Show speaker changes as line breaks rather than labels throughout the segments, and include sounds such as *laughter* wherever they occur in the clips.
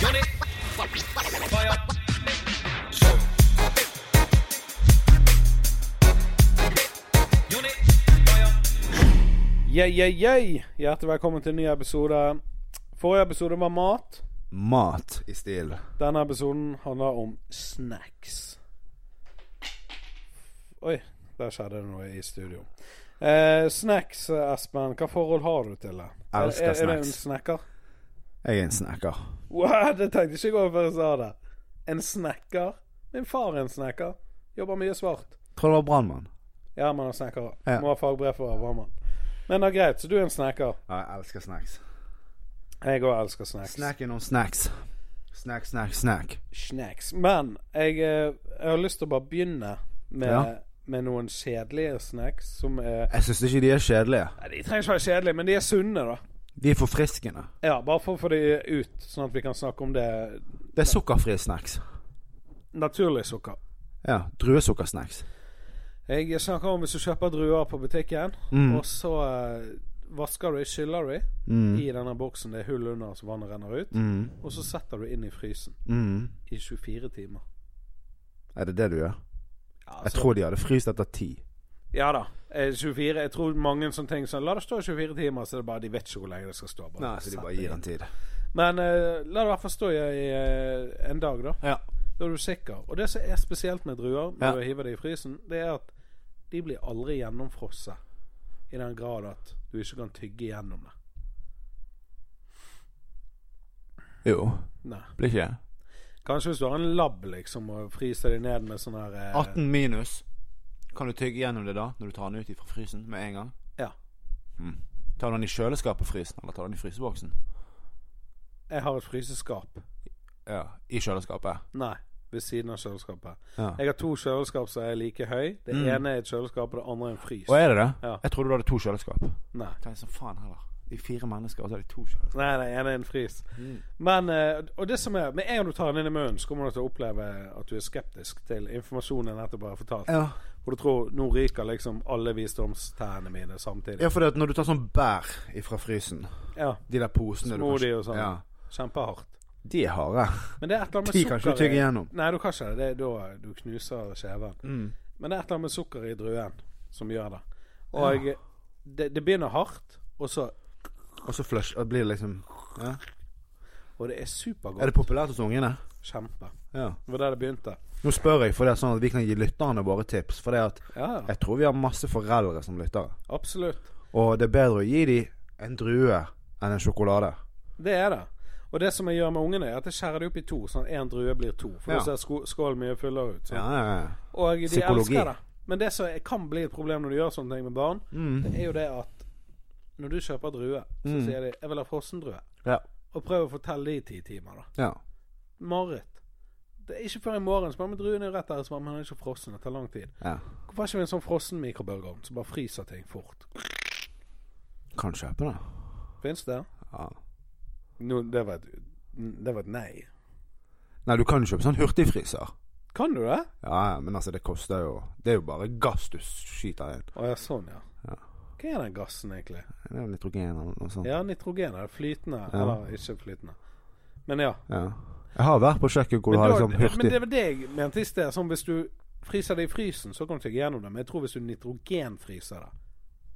Jonny. Kaja. Jonny. Kaja.
Yeah, yeah, yeah. Hjertelig velkommen til en ny episode. Forrige episode var mat.
Mat i stil.
Denne episoden handler om snacks. Oi, der skjedde det noe i studio. Eh, snacks, Espen. Hva forhold har du til det? Er-
Elsker
er, er det en
snacks.
snacker?
Jeg er en snekker.
Wow, det tenkte jeg ikke over før jeg sa det. En snacker? Min far er en snacker. Jobber mye svart.
Tror det var brannmann.
Ja, men han er snekker.
Ja.
Må ha fagbrev for å være brannmann. Men det er greit, så du er en snacker.
Ja, jeg elsker snacks.
Jeg òg elsker snacks.
Snacken om snacks. Snack, snack, snack.
snacks. Men jeg, eh, jeg har lyst til å bare begynne med,
Ja.
med noen kjedelige snacks som er
Jeg syns ikke de er kjedelige.
Nei, De trenger ikke være kjedelige, men de er sunne, da.
De er forfriskende.
Ja, Bare for å få de ut, sånn at vi kan snakke om det
Det er sukkerfrie snacks.
naturlige sukker.
Ja. Druesukkersnacks.
Jeg snakker om hvis du kjøper druer på butikken,
Mm.
og så eh, vasker du i, skyller du i,
Mm.
i denne boksen det er hull under så vannet renner ut,
Mm.
og så setter du inn i frysen
Mm.
i 24 timer.
Er det det du gjør?
Ja,
Jeg
så-
tror de hadde fryst etter ti.
Ja da. eh, 24 Jeg tror mange som tenker sånn La det stå i 24 timer, så er det bare de vet ikke hvor lenge det skal stå. Bare
Nei, så de
sett
bare
det
gir
inn.
den tid.
Men eh, la det i hvert fall stå i eh, en dag, da.
Ja.
Da er du sikker. Og det som er spesielt med druer når
Ja.
du hiver det i frysen, det er at de blir aldri gjennomfrosset. I den grad at du ikke kan tygge gjennom det.
Jo.
Nei.
Blir ikke det?
Kanskje hvis du har en lab, liksom, og fryser de ned med sånn her eh,
18 minus. Kan du tygge gjennom det da, når du tar den ut fra frysen med en gang?
Ja.
Mm. Tar du den i kjøleskapet frysen, eller tar du den i fryseboksen?
Jeg har et fryseskap.
Ja, i kjøleskapet.
Nei. Ved siden av kjøleskapet.
Ja. Mm.
Jeg har to kjøleskap som er like høy. Det ene er et kjøleskap, og det andre er en frys.
Og er det det?
Ja.
Jeg trodde du hadde to kjøleskap.
Nei.
Tenk sånn, faen heller. De er fire mennesker, og så er de to kjøleskap.
Nei, nei, en er en frys.
Mm.
Men eh, og det som er, med en gang du tar den inn i munnen, så kommer du til å oppleve at du er skeptisk til informasjonen jeg nettopp har fortalt.
Ja,
Og du tror nå ryker liksom alle visdomstærne mine samtidig.
for det at når du tar sånn bær ifra frysen,
Ja,
de der posene du
Små
kan-
de og sånn.
Ja,
Kjempehardt.
de er harde.
Men det er et eller annet
De
med
kan ikke
sukker
du tygge
i-
gjennom.
Nei, du kan ikke det. det. er Da du knuser kjeven.
Mm.
Men det er et eller annet med sukker i druen som gjør det. Og det, det begynner hardt, og så
Og så flush, og blir det liksom ja.
Og det er
Er
supergodt.
det populært hos ungene?
Kjempe.
Ja.
Det var der det begynte.
Nå spør jeg, for det er sånn at vi kan gi lytterne våre tips. For det at
Ja, ja.
jeg tror vi har masse foreldre som lyttere.
Absolutt.
Og det er bedre å gi dem en drue enn en sjokolade.
Det er det. Og det som jeg gjør med ungene, er at jeg skjærer dem opp i to, sånn at én drue blir to. For
Ja.
da ser sko- skålen mye fullere ut.
Ja,
sånn.
ja, ja.
Og de
Psykologi.
elsker det. Men det som er- kan bli et problem når du gjør sånne ting med barn, det er jo det at når du kjøper drue, så
Mm.
sier de 'jeg vil ha frossendrue',
Ja.
og prøv å fortelle de i ti timer, da.
ja.
Mareritt. Det er ikke før i morgen. Så bare, men druen er jo rett der. Så bare, men den er ikke frossen. Det tar lang tid.
ja.
Hvorfor har ikke vi en sånn frossen mikrobølgeovn som bare fryser ting fort?
Kan kjøpe det.
Fins det?
Ja.
No, det, var et, det var et nei.
Nei, du kan jo kjøpe sånn hurtigfryser.
Kan du det?
Ja, ja, men altså, det koster jo Det er jo bare gass du skyter inn.
Å ja, sånn, ja.
Ja.
Hva er den gassen, egentlig?
Det er jo nitrogen eller noe sånt.
Ja, nitrogen er det flytende,
Ja.
eller ikke flytende. Men ja.
Ja. Jeg har vært på kjøkken hvor
Men,
du har
da-
liksom
men det
hurtig
var det jeg mente i sted. Sånn hvis du fryser det i frysen, så kan du tygge gjennom det. Men jeg tror hvis du nitrogenfryser det,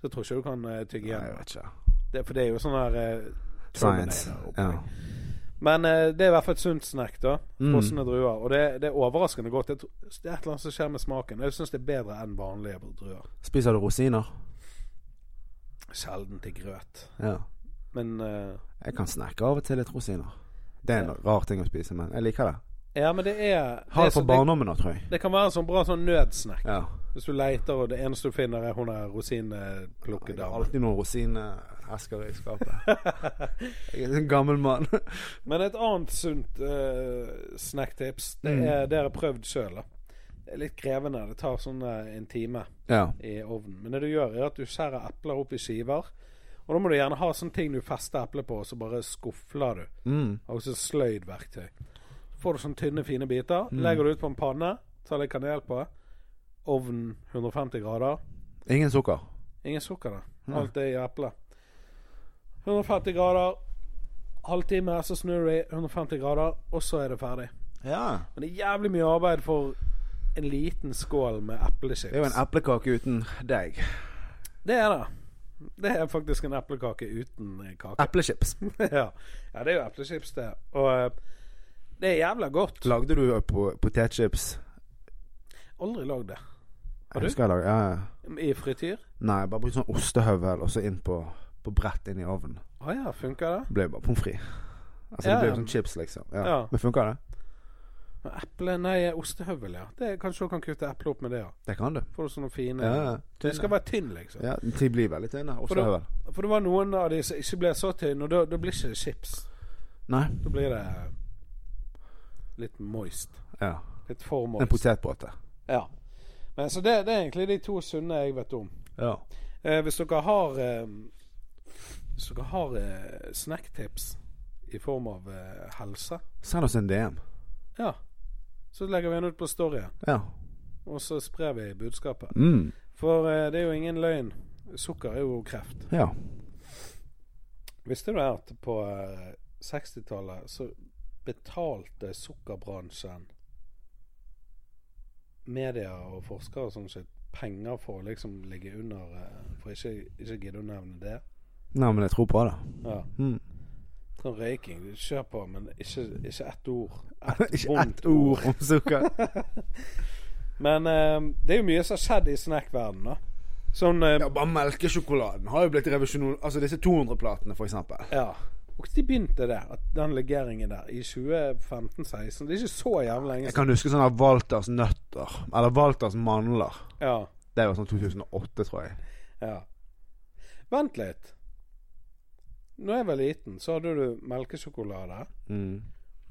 så tror jeg ikke du kan eh, tygge
Nei, jeg
gjennom det.
vet ikke.
det. For det er jo sånn her eh,
Science.
Terminator-opplegg.
Ja.
Men eh, det er i hvert fall et sunt snack, da.
Mm.
Frosne druer. Og det, det er overraskende godt. Jeg tror- Det er et eller annet som skjer med smaken. Jeg syns det er bedre enn vanlige druer.
Spiser du rosiner?
Sjelden til grøt.
Ja.
Men eh,
Jeg kan snakke av og til litt rosiner. Det er en rar ting å spise, men jeg liker det.
Ja, men det er
Har
er
det fra
så-
barndommen av, tror jeg.
Det kan være en sånn bra sånn nødsnack.
Ja.
Hvis du leiter, og det eneste du finner, er hun der rosinplukket
Jeg har
dame.
alltid noen rosinesker i skapet. Jeg er en gammel mann. *laughs*
Men et annet sunt eh, snacktips, det er det jeg har prøvd sjøl. Det er litt krevende. Det tar sånn eh, en time
Ja.
i ovnen. Men det du gjør, er at du skjærer epler opp i skiver. Og da må du gjerne ha sånne ting du fester eplet på, og så bare skufler du.
Mm.
Og så sløyd verktøy. Får du sånne tynne, fine biter. Legger du ut på en panne, tar litt kanel på. Ovn 150 grader.
Ingen sukker.
Ingen sukker, da. Alt er i eplet. 150 grader. halvtime, så snur det i 150 grader, og så er det ferdig.
Ja.
Men det er jævlig mye arbeid for en liten skål med
Det er jo
eplechips.
en eplekake uten deig.
Det er det. Det er faktisk en eplekake uten eh, kake.
Eplechips.
*laughs* ja. ja, det er jo eplechips, det. Og eh, det er jævla godt.
Lagde du eh, po- potetchips?
Aldri lagd det. Har
Jeg
du?
husker jeg lagde, ja, ja.
I frityr?
Nei, bare bruk sånn ostehøvel og så inn på, på brett inn i ovnen.
Å ja, funker det?
Det ble jo bare pommes frites. Altså,
Ja,
det ble
ja.
jo sånn chips, liksom. Ja.
Ja.
Men funker det?
Men Eple, nei, ostehøvel, ja. Det, kanskje du kan kutte eple opp med det, ja.
Det kan du.
Får du sånne fine
Ja, ja.
Du skal være tynn, liksom.
ja, de blir veldig tynne.
For da-
Ostehøvel.
For det var noen av de som ikke ble så tynne, og da, da blir ikke det chips.
Nei.
Da blir det litt moist.
Ja.
Litt for
En
moist.
potetbåte.
Ja. Men, så det, det er egentlig de to sunne jeg vet om.
Ja.
Eh, hvis dere har eh, Hvis dere har eh, snacktips i form av eh, helse,
Send oss en DM.
ja, så legger vi den ut på storyen.
Ja.
Og så sprer vi budskapet.
Mm.
For eh, det er jo ingen løgn. Sukker er jo kreft.
Ja.
Visste du at på eh, 60-tallet så betalte sukkerbransjen media og forskere og sånn shit penger for å liksom ligge under eh, For ikke, ikke gidde å nevne det.
Nei, men jeg tror på det.
Ja.
Mm.
Sånn røyking, du kjør på, men ikke, ikke ett
*laughs*
ord.
Ikke
vondt
ett ord om
*laughs*
sukker.
Men eh, det er jo mye som har skjedd i snackverdenen, da. Sånn eh,
Ja, bare melkesjokoladen har jo blitt revisjonon... Altså disse 200-platene, for eksempel.
Ja. Og når begynte det? At den legeringen der? I 2015-16? Det er ikke så jævlig lenge
Jeg
siden.
kan huske sånne Walters nøtter. Eller Walters mandler.
Ja.
Det var sånn 2008, tror jeg.
Ja. Vent litt. Når jeg var liten, så hadde du melkesjokolade,
Mm.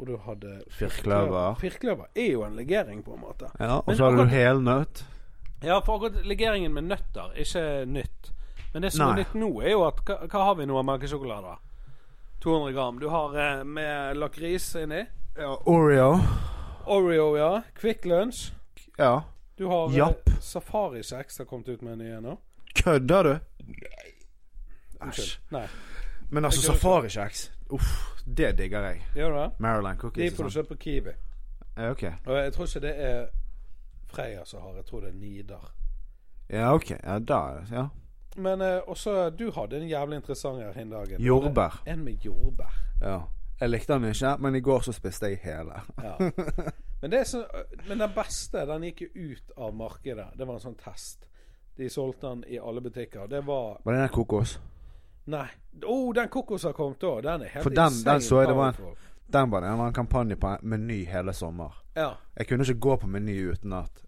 og du hadde
Firkløver.
Firkløver er jo en legering, på en måte.
Ja, og
Men
så hadde
akkurat-
du helnøtt.
Ja, for akkurat legeringen med nøtter er ikke nytt. Men det som
Nei.
er nytt nå, er jo at hva, hva har vi nå av melkesjokolade? 200 gram. Du har eh, med lakris inni.
Ja, Oreo.
Oreo, ja. Quick Lunch.
Ja.
Du har eh,
Japp.
Safariseks har kommet ut med en ny en nå.
Kødder du? Æsj.
Unnskyld. Nei.
Men altså, safarikjeks. Uff, det digger jeg.
Gjør du det?
Maryland
De
cookies.
får du
og sånn.
kjøpe på Kiwi.
Ja, ok.
Og jeg tror ikke det er Freya som har, jeg tror det er Nidar.
Ja, ok. Ja, da er det Ja.
Men eh, også du hadde en jævlig interessant her den dagen.
Jordbær.
En med jordbær.
Ja. Jeg likte den ikke, men i går så spiste jeg hele.
Ja. *laughs* Men, det er så, men den beste, den gikk jo ut av markedet. Det var en sånn test. De solgte den i alle butikker. Det var
Var det den der kokos?
Nei. Å, oh, den kokos har kommet òg. Den er helt
For den-
insane
den så jeg det var en-
powerful.
Den var det. Den var en kampanje på Meny hele sommer.
Ja.
Jeg kunne ikke gå på Meny uten at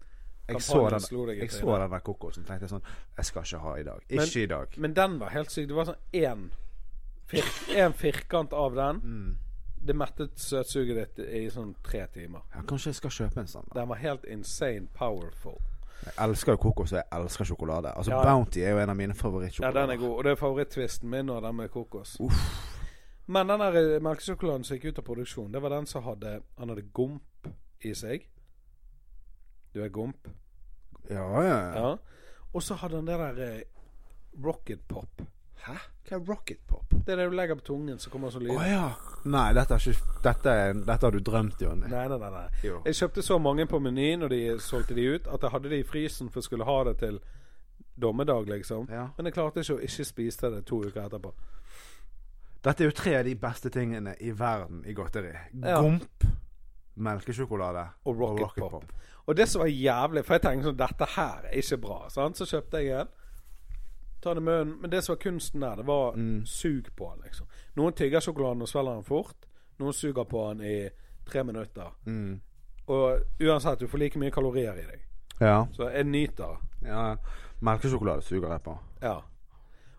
jeg så,
Kampanjen slo deg i
den, jeg
trynet.
så den der kokosen og tenkte sånn Jeg skal ikke ha i dag. Ikke
Men-
i dag.
Men den var helt syk. Det var sånn én fir, en firkant av den.
Mm.
Det mettet søtsuget ditt i sånn tre timer.
Ja, kanskje jeg skal kjøpe en sånn. da.
Den var helt insane powerful.
Jeg elsker jo kokos, og jeg elsker sjokolade. Altså
Ja.
Bounty er jo en av mine
Ja,
favorittsjokolader.
den er god. Og det er favoritt-twisten min og den med kokos. Men den der eh, melkesjokoladen som gikk ut av produksjon, det var den som hadde Han hadde gomp i seg. Du er gomp?
Ja, ja, ja.
Ja. Og så hadde han det der eh, rocket pop.
Hæ? Hva er rocket pop?
Det er det du legger på tungen som kommer sånn
Å
lyd.
ja. Nei, dette, er ikke, dette, er, dette har du drømt, Jonny.
Nei, nei, nei, nei.
Jo.
Jeg kjøpte så mange på Meny når de solgte de ut, at jeg hadde de i frysen for jeg skulle ha det til dommedag, liksom.
Ja.
Men jeg klarte ikke å ikke spise det to uker etterpå.
Dette er jo tre av de beste tingene i verden i godteri.
Ja.
Gomp, melkesjokolade
Og Rocket, Pop. Og det som var jævlig, for jeg tenkte sånn Dette her er ikke bra. Sant? Så kjøpte jeg en. Ta den i munnen. Men det som var kunsten der, det var
Mm.
sug på den, liksom. Noen tygger sjokoladen og svelger den fort. Noen suger på den i tre minutter.
Mm.
Og uansett, du får like mye kalorier i deg.
Ja.
Så jeg nyter det.
ja. Melkesjokolade suger jeg på.
Ja.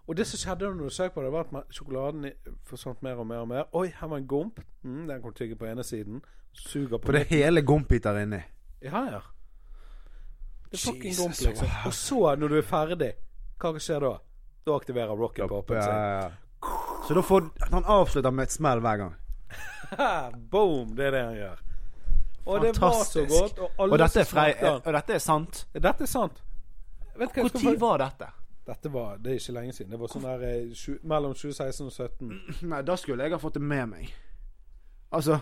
Og det som skjedde når du søkte på det, var at ma- sjokoladen i- forsvant mer og mer og mer. Oi, her var en gomp. Mm, den kan du tygge på ene siden. Suger på
For det er hele gompbiter inni.
Ja, ja. Det er fucking
Jesus,
dumt, liksom.
wow.
Og så, når du er ferdig, hva skjer da? Da aktiverer rocket popen seg.
Ja, ja, ja. Så da får han avslutter med et smell hver gang.
Ha, Boom! Det er det han gjør. Og det var så
Fantastisk.
godt. Og alle
Og dette
som
er, frei,
smakte den-
og dette er sant.
Dette er sant. Vet du hva jeg skal
Når
for-
var dette?
Dette var, Det er ikke lenge siden. Det var sånn der eh, sju- mellom 2016 og 2017.
*clears throat* Nei, da skulle jeg ha fått det med meg. Altså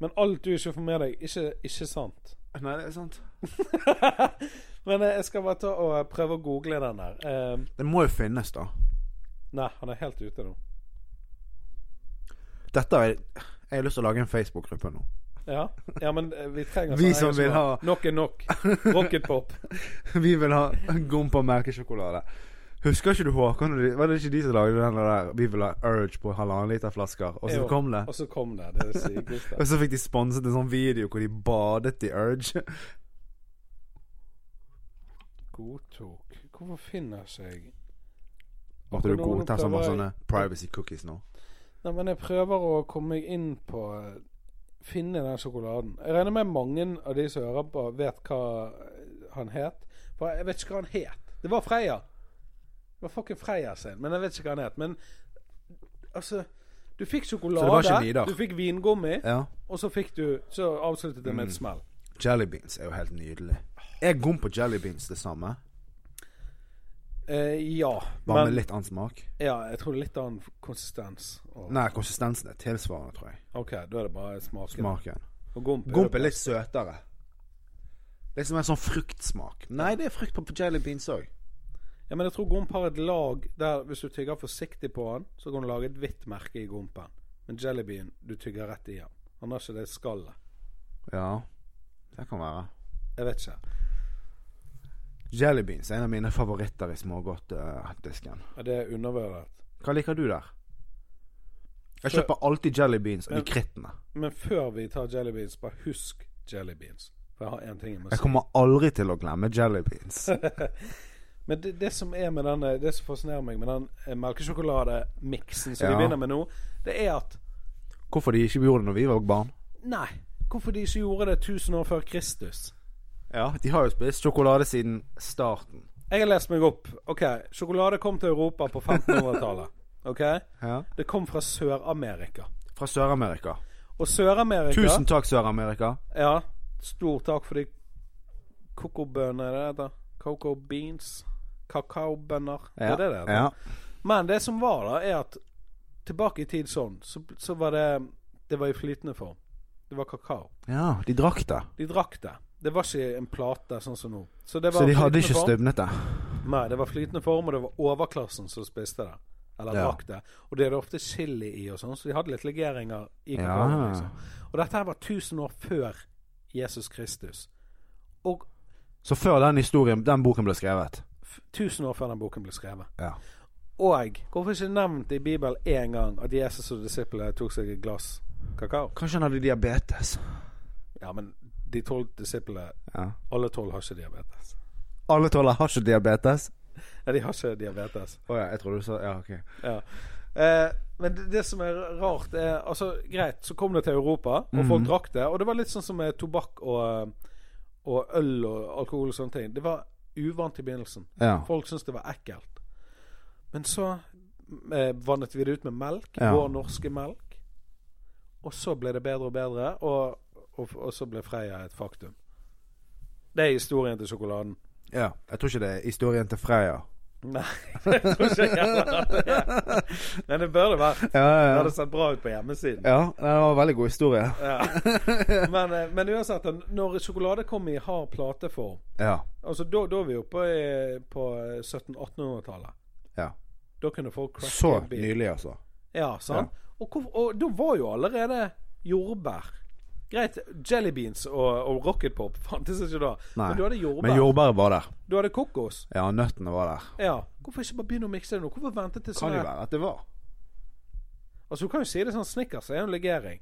Men alt du ikke får med deg, ikke, ikke sant.
Nei, det er sant.
Men eh, jeg skal bare ta og prøve å google den her. Eh,
Det må jo finnes, da.
nei, han er helt ute nå.
Dette er Jeg har lyst til å lage en Facebook-gruppe nå. *laughs*
Ja, ja men eh, vi trenger
Vi
sånne
som vil ha-
Nok er nok. Rocket pop.
Vi vil ha gomp og melkesjokolade. Husker ikke du Håkon? og de- Var det ikke de som lagde den der 'Vi vil ha Urge' på halvannen liter flasker? Og så
Jo,
kom det.
Og så kom det. Det er det
*laughs*
sykeste.
Og så fikk de sponset en sånn video hvor de badet i Urge.
Godtok. Hvorfor finner ikke jeg
Måtte du
Nå- nå
godta sånne,
prøver jeg-
sånne privacy cookies nå?
Nei, men jeg prøver å komme meg inn på eh, Finne den sjokoladen. Jeg regner med mange av de som hører på, vet hva eh, han het. For jeg vet ikke hva han het. Det var Freya. Det var fucking Freya sin, men jeg vet ikke hva han het. Men altså Du fikk
var
sjokolade,
ikke Nidar?
du fikk vingummi,
Ja. Mm.
og så fikk du Så avsluttet det med et smell.
Jelly beans er jo helt nydelig. Er gomp og jelly beans det samme?
Eh, ja.
Bare med litt annen smak?
ja, jeg tror det er litt annen konsistens. Og,
Nei, konsistensen er tilsvarende, tror jeg.
OK, da er det bare smaken.
Smaken.
Og gomp. er
Gomp
det
er litt søtere. Det er som en sånn fruktsmak. Nei, det er frukt på jelly beans òg.
Ja, men jeg tror gomp har et lag der hvis du tygger forsiktig på den, så kan du lage et hvitt merke i gompen. Men jellybean, du tygger rett i den. Han har ikke det skallet.
Ja, det kan være.
Jeg vet ikke.
Jelly beans er en av mine favoritter i smågodtdisken.
Er det undervurdert?
Hva liker du der? Jeg
Før-
kjøper alltid jelly beans og de
Men-
krittene.
Men før vi tar jellybeans, bare husk jellybeans. For jeg har én ting jeg må
Jeg
si.
kommer aldri til å glemme jelly beans.
Men det, det som er med denne, det som fascinerer meg med den eh, melkesjokolademiksen som
Ja.
de begynner med nå, det er at
Hvorfor de ikke gjorde det når vi var barn?
Nei, hvorfor de ikke gjorde det 1000 år før Kristus?
Ja, De har jo spist sjokolade siden starten.
Jeg har lest meg opp. OK, sjokolade kom til Europa på 1500-tallet. OK?
*laughs* Ja.
Det kom fra Sør-Amerika.
Fra Sør-Amerika.
Og Sør-Amerika
Tusen takk, Sør-Amerika.
Ja, stor takk for de kokobønner er det det heter. Coco beans. Kakaobønner. Det
Ja,
er det det heter.
ja.
Men det som var, da, er at tilbake i tid sånn, så, så var det Det var i flytende form. Det var kakao.
ja, de drakk det.
De drakk det. Det var ikke en plate sånn som nå. Så, det var
Så de hadde
flytende
ikke
form.
støvnet det.
Nei, det var flytende form, og det var overklassen som spiste det. Eller
Ja.
drakk det. Og det er det ofte chili i og sånn, så de hadde litt legeringer i
Ja.
kakaoen. Liksom. Og dette her var 1000 år før Jesus Kristus. Og
Så før den historien, den boken ble skrevet.
f- 1000 år før den boken ble skrevet.
Ja.
Og hvorfor ikke nevnt i Bibelen én gang at Jesus og disiplene tok seg et glass kakao?
Kanskje han hadde diabetes.
Ja, men de tolv disiplene
Ja.
Alle tolv har ikke diabetes.
Alle tåler har ikke diabetes.
Nei, de har ikke diabetes.
Å ja, jeg trodde du sa Ja, ok.
*laughs* Ja. Eh, men det, det som er rart, er Altså, greit, så kom det til Europa, og
Mhm.
folk drakk det. Og det var litt sånn som med tobakk og, og øl og alkohol og sånne ting. Det var uvant i begynnelsen.
Ja.
Folk syntes det var ekkelt. Men så eh, vannet vi det ut med melk.
Ja.
Vår norske melk. Og så ble det bedre og bedre, og, og, og så ble Freia et faktum. Det er historien til sjokoladen. *laughs*
ja. Jeg tror ikke det er historien til Freya.
Nei, jeg tror ikke heller at det er
*laughs*
Men det bør det være.
Ja,
Det
ja,
hadde sett bra ut på hjemmesiden.
ja. Det var en veldig god historie. *laughs*
Ja. Men, eh, men uansett, da, når sjokolade kom i hard plateform
Ja.
Altså, Da da er vi oppe i, på 1700-1800-tallet.
ja.
Da kunne folk cracke
Så
en bil.
nylig, altså.
Ja, sant? Og, hvor, og da var jo allerede jordbær Greit, jellybeans og, og rocketpop fantes ikke da.
Nei.
Men du hadde jordbær.
Men jordbæret var der.
Du hadde kokos.
Ja, nøttene var der.
Ja. Hvorfor ikke bare begynne å mikse det nå? Hvorfor vente til
Kan
sånn
jo
her?
være at det var.
Altså, du kan jo si det sånn Snickers er jo en legering.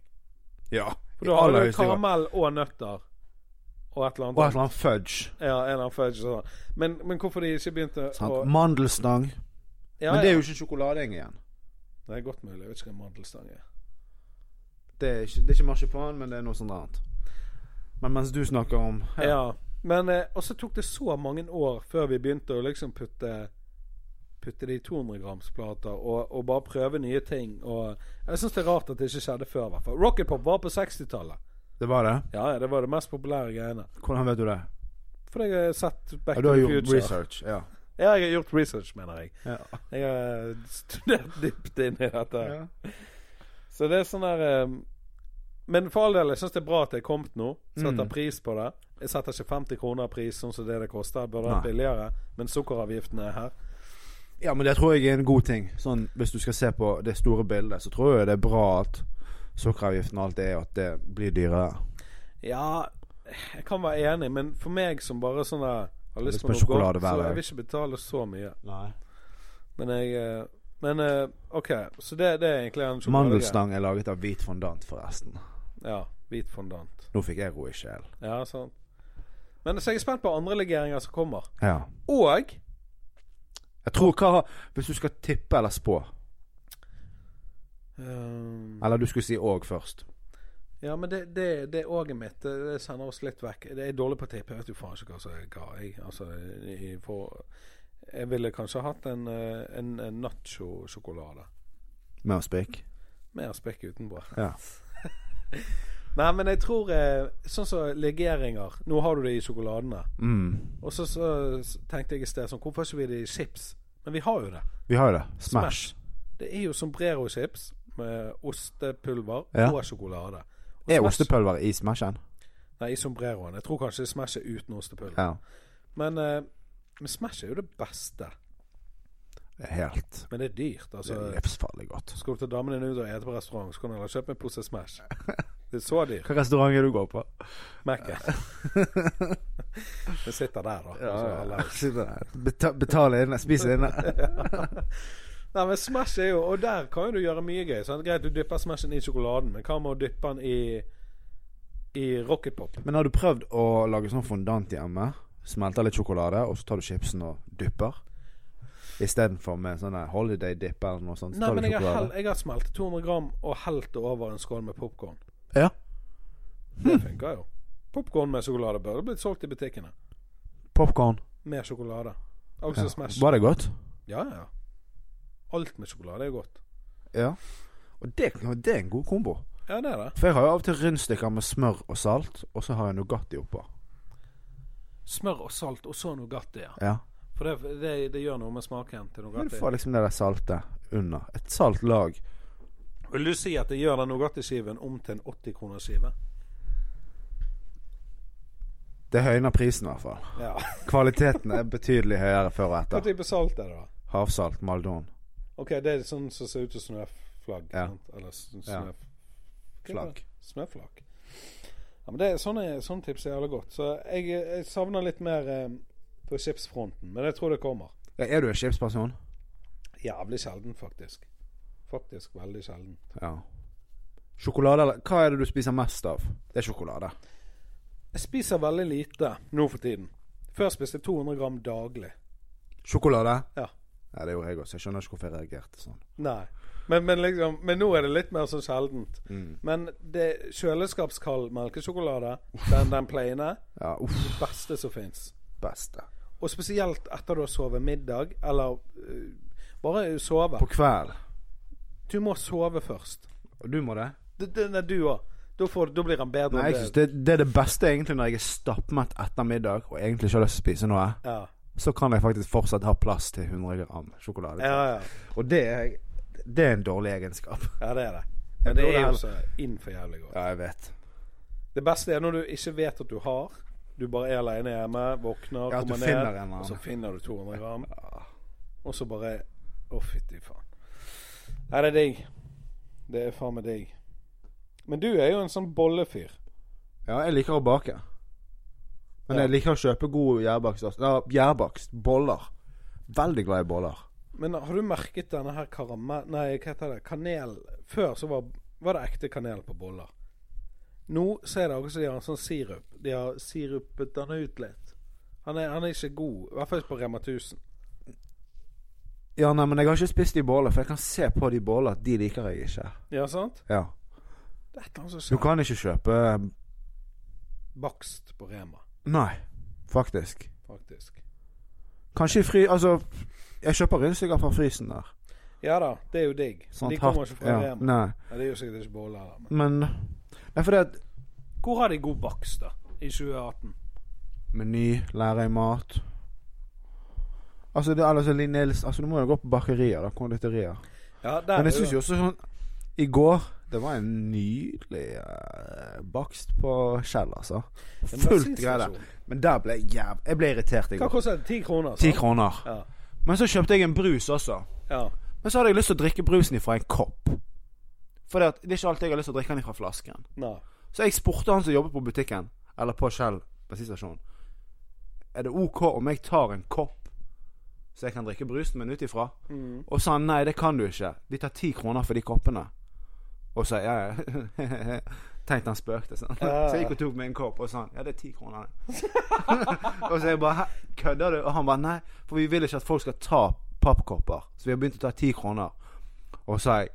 Ja.
For da har du karamell og nøtter og et eller
Og et
annet.
eller annet fudge.
Ja, en eller annen fudge og sånn. Men, men hvorfor de ikke begynte
Sant?
å
Mandelstang.
ja,
Men det er jo ikke en sjokolading igjen.
ja. Det er godt mulig. Jeg vet ikke hva en mandelstang er.
Det er ikke, det er ikke marsipan, men det er noe sånt annet. Men mens du snakker om
Ja. Men eh, Og så tok det så mange år før vi begynte å liksom putte Putte det i 200 grams plater og, og bare prøve nye ting. Og jeg syns det er rart at det ikke skjedde før, i hvert fall. Rocket Pop var på 60-tallet.
Det var det?
Ja, ja, det var det mest populære greiene.
Hvordan vet du det?
For jeg har sett Back
Ja,
to
du har
the
gjort
Future.
research. Ja.
Ja, jeg har gjort research, mener jeg.
Ja.
Jeg har studert dypt inn i dette.
Ja.
Så det er sånn der eh, Men for all del, jeg syns det er bra at det er kommet nå. Setter
Mm.
pris på det. Jeg setter ikke 50 kroner av pris, sånn som det det koster. Det Burde vært
Nei.
billigere, men sukkeravgiften er her.
ja, men det tror jeg er en god ting. Sånn, Hvis du skal se på det store bildet, så tror jeg det er bra at sukkeravgiften og alt det er, og at det blir dyrere.
Ja, jeg kan være enig, men for meg som bare sånn der har lyst
lyst
på
på
noe godt,
sjokolade hver
så
dag.
jeg vil ikke betale så mye.
Nei.
Men jeg eh, Men eh, OK, så det, det er egentlig en sjokoladegreie.
Mandelstang er laget av hvit fondant, forresten.
Ja. Hvit fondant.
Nå fikk jeg ro i sjelen.
Ja, sant. Men så er jeg spent på andre legeringer som kommer.
Ja.
Og
Jeg tror hva Hvis du skal tippe eller spå
eh,
Eller du skulle si òg først.
Ja, men det, det, det er òget mitt. Det, det sender oss litt vekk. Det er dårlig på å tippe. Jeg vet jo faen ikke hva som er hva. Jeg, altså, jeg, får- jeg ville kanskje hatt en, eh, en, en nacho-sjokolade.
Med å spik.
Mer spekk utenpå.
Ja.
Nei, men jeg tror eh, Sånn som legeringer Nå har du det i sjokoladene.
Mm.
Og så, så s- tenkte jeg i sted sånn Hvorfor har ikke vi det i chips? Men vi har jo det.
Vi har jo det. Smash.
Det er jo sombrero-chips med ostepulver
Ja.
og sjokolade. Og
Er
Smash-
ostepulver i Smashen?
Nei, i sombreroen. Jeg tror kanskje Smash er uten ostepulver.
Ja.
Men, eh, men Smash er jo det beste.
Det er helt
Men det er dyrt.
Det
altså.
er livsfarlig godt.
Skal du ta damen din ut og ete på restaurant, så kan du heller kjøpe en pose
*laughs*
Smash. Det er så dyrt.
Hvilken restaurant er det du går på?
Mac-en. *laughs* Den sitter der, da.
Ja,
Altså, alle-
Sitter der. Beta betale inne, spise *laughs* inne.
Nei, men Smash er jo Og der kan jo du gjøre mye gøy. Sant? Greit, du dypper Smashen i sjokoladen, men hva med å dyppe den i i Rocket Pop?
Men har du prøvd å lage sånn fondant hjemme? Smelter litt sjokolade, og så tar du chipsen og dypper? Istedenfor med sånne holiday dip eller noe sånt. så
Nei,
tar du
men jeg har,
sjokolade.
hell, jeg har smeltet 200 gram og helt det over en skål med popkorn.
Ja.
Det funker jo. Popkorn med sjokolade burde blitt solgt i butikkene.
Popkorn.
Med sjokolade. Altså
Ja.
Smash.
Var det godt?
Ja, ja. Alt med sjokolade er jo godt.
Ja. Og det, det er en god kombo.
Ja, det er det.
For jeg har jo av og til rundstykker med smør og salt, og så har jeg Nugatti oppå.
Smør og salt, og så Nugatti, ja.
Ja.
For det, det, det gjør noe med smaken til
Men du
Nugatti.
får liksom det der salte under. Et salt lag.
Vil du si at det gjør den Nugatti-skiven om til en 80-kronerskive?
Det høyner prisen i hvert fall.
*laughs* Ja.
Kvaliteten er betydelig høyere før og
Hva
*laughs* etter.
type salt er det, da?
Havsalt, Maldon.
Ok, det er sånn som ser ut som snøflagg.
Ja.
sant? Eller sn-
Ja.
snøf...
Flagg.
Snøflakk. Ja, men det er, sånne, sånne tips er jævlig godt. Så jeg, jeg savner litt mer eh, på chipsfronten. Men jeg tror det kommer.
Ja, er du en chipsperson?
Jævlig sjelden, faktisk. Faktisk veldig sjelden.
Ja. Sjokolade eller Hva er det du spiser mest av? Det er sjokolade.
Jeg spiser veldig lite nå for tiden. Før spiste jeg 200 gram daglig.
Sjokolade?
Ja.
Ja, det gjorde jeg også. Jeg skjønner ikke hvorfor jeg reagerte sånn.
Nei. Men, men, liksom, men nå er det litt mer sånn sjeldent.
Mm.
Men det kjøleskapskald melkesjokolade, den, den plaine,
Ja, uff.
det beste som fins.
Beste.
Og spesielt etter du har sovet middag, eller øh, bare sove.
På kveld.
Du må sove først.
Og du må det?
Det, det, nei, du òg. Da, får- da blir han bedre.
Nei,
enn
jeg synes det, det er det beste egentlig når jeg er stappmett etter middag og egentlig ikke har lyst til å spise noe.
Ja,
Så kan jeg faktisk fortsatt ha plass til 100 gram sjokolade.
ja, ja.
Og det er, det er en dårlig egenskap.
ja det er det. Men det
tror
er
det er-
jo så inn for jævlig godt.
*laughs* Ja, jeg vet.
Det beste er når du ikke vet at du har. Du bare er aleine hjemme, våkner,
Ja, at du
kommer
finner en eller
ned,
annen.
og så finner du
*laughs*
200 gram. Og så bare Å, fytti faen. Nei, det er digg. Det er faen meg digg. Men du er jo en sånn bollefyr.
Ja, jeg liker å bake. Men
Ja.
jeg liker å kjøpe god gjærbakst. også. Ja, gjærbakst. Boller. Veldig glad i boller.
Men har du merket denne her karamell... Nei, hva heter det? Kanel. Før så var, var det ekte kanel på boller. Nå så er det akkurat som de har en sånn sirup. De har sirupet den ut litt. Han er, han er ikke god. I hvert fall ikke på Rema 1000.
Ja, nei, men jeg har ikke spist de boller, for jeg kan se på de boller at de liker jeg ikke.
Ja, sant?
Ja.
Det er et eller annet som
Du
skjer.
kan ikke kjøpe eh,
Bakst på Rema,
Nei, faktisk.
faktisk.
Kanskje i fry... Altså, jeg kjøper rundstykker fra frysen der.
Ja da, det er jo digg.
Sånn
de
at
kommer
hatt-
ikke fra
ja,
Rema.
Nei,
Nei, det er jo sikkert ikke boller heller. men-
men Nei, fordi at
Hvor har de god bakst, da? I 2018?
Meny, lærer jeg mat Altså, det, eller så Linn Nils Altså, nå må du gå på bakerier, da. Konditorier.
Ja, der,
Men jeg
er
syns
jo-
jo også sånn I går det var en nydelig eh, bakst på Kjell, altså.
men
Fullt
bensinstasjon.
greie der. Men der ble jeg jæv... Jeg ble irritert i
Hva
går.
koster det? Ti kroner? sant?
Ti kroner.
Ja.
Men så kjøpte jeg en brus også.
ja.
Men så hadde jeg lyst til å drikke brusen ifra en kopp. For det, at det er ikke alltid jeg har lyst til å drikke den ifra flasken.
Nei.
Så jeg spurte han som jobber på butikken, eller på Kjell bensinstasjon, er det OK om jeg tar en kopp, så jeg kan drikke brusen min ut ifra?
Mm.
Og sa han nei, det kan du ikke. De tar ti kroner for de koppene. Og så ja, *laughs* ja. Tenkte han spøkte. Sånn.
Ja.
Så jeg gikk og tok meg en kopp, og sa han ja, det er ti kroner. *laughs* det." og så jeg bare "Hæ, kødder du? Og han bare nei, for vi vil ikke at folk skal ta pappkopper. Så vi har begynt å ta ti kroner. Og så sa jeg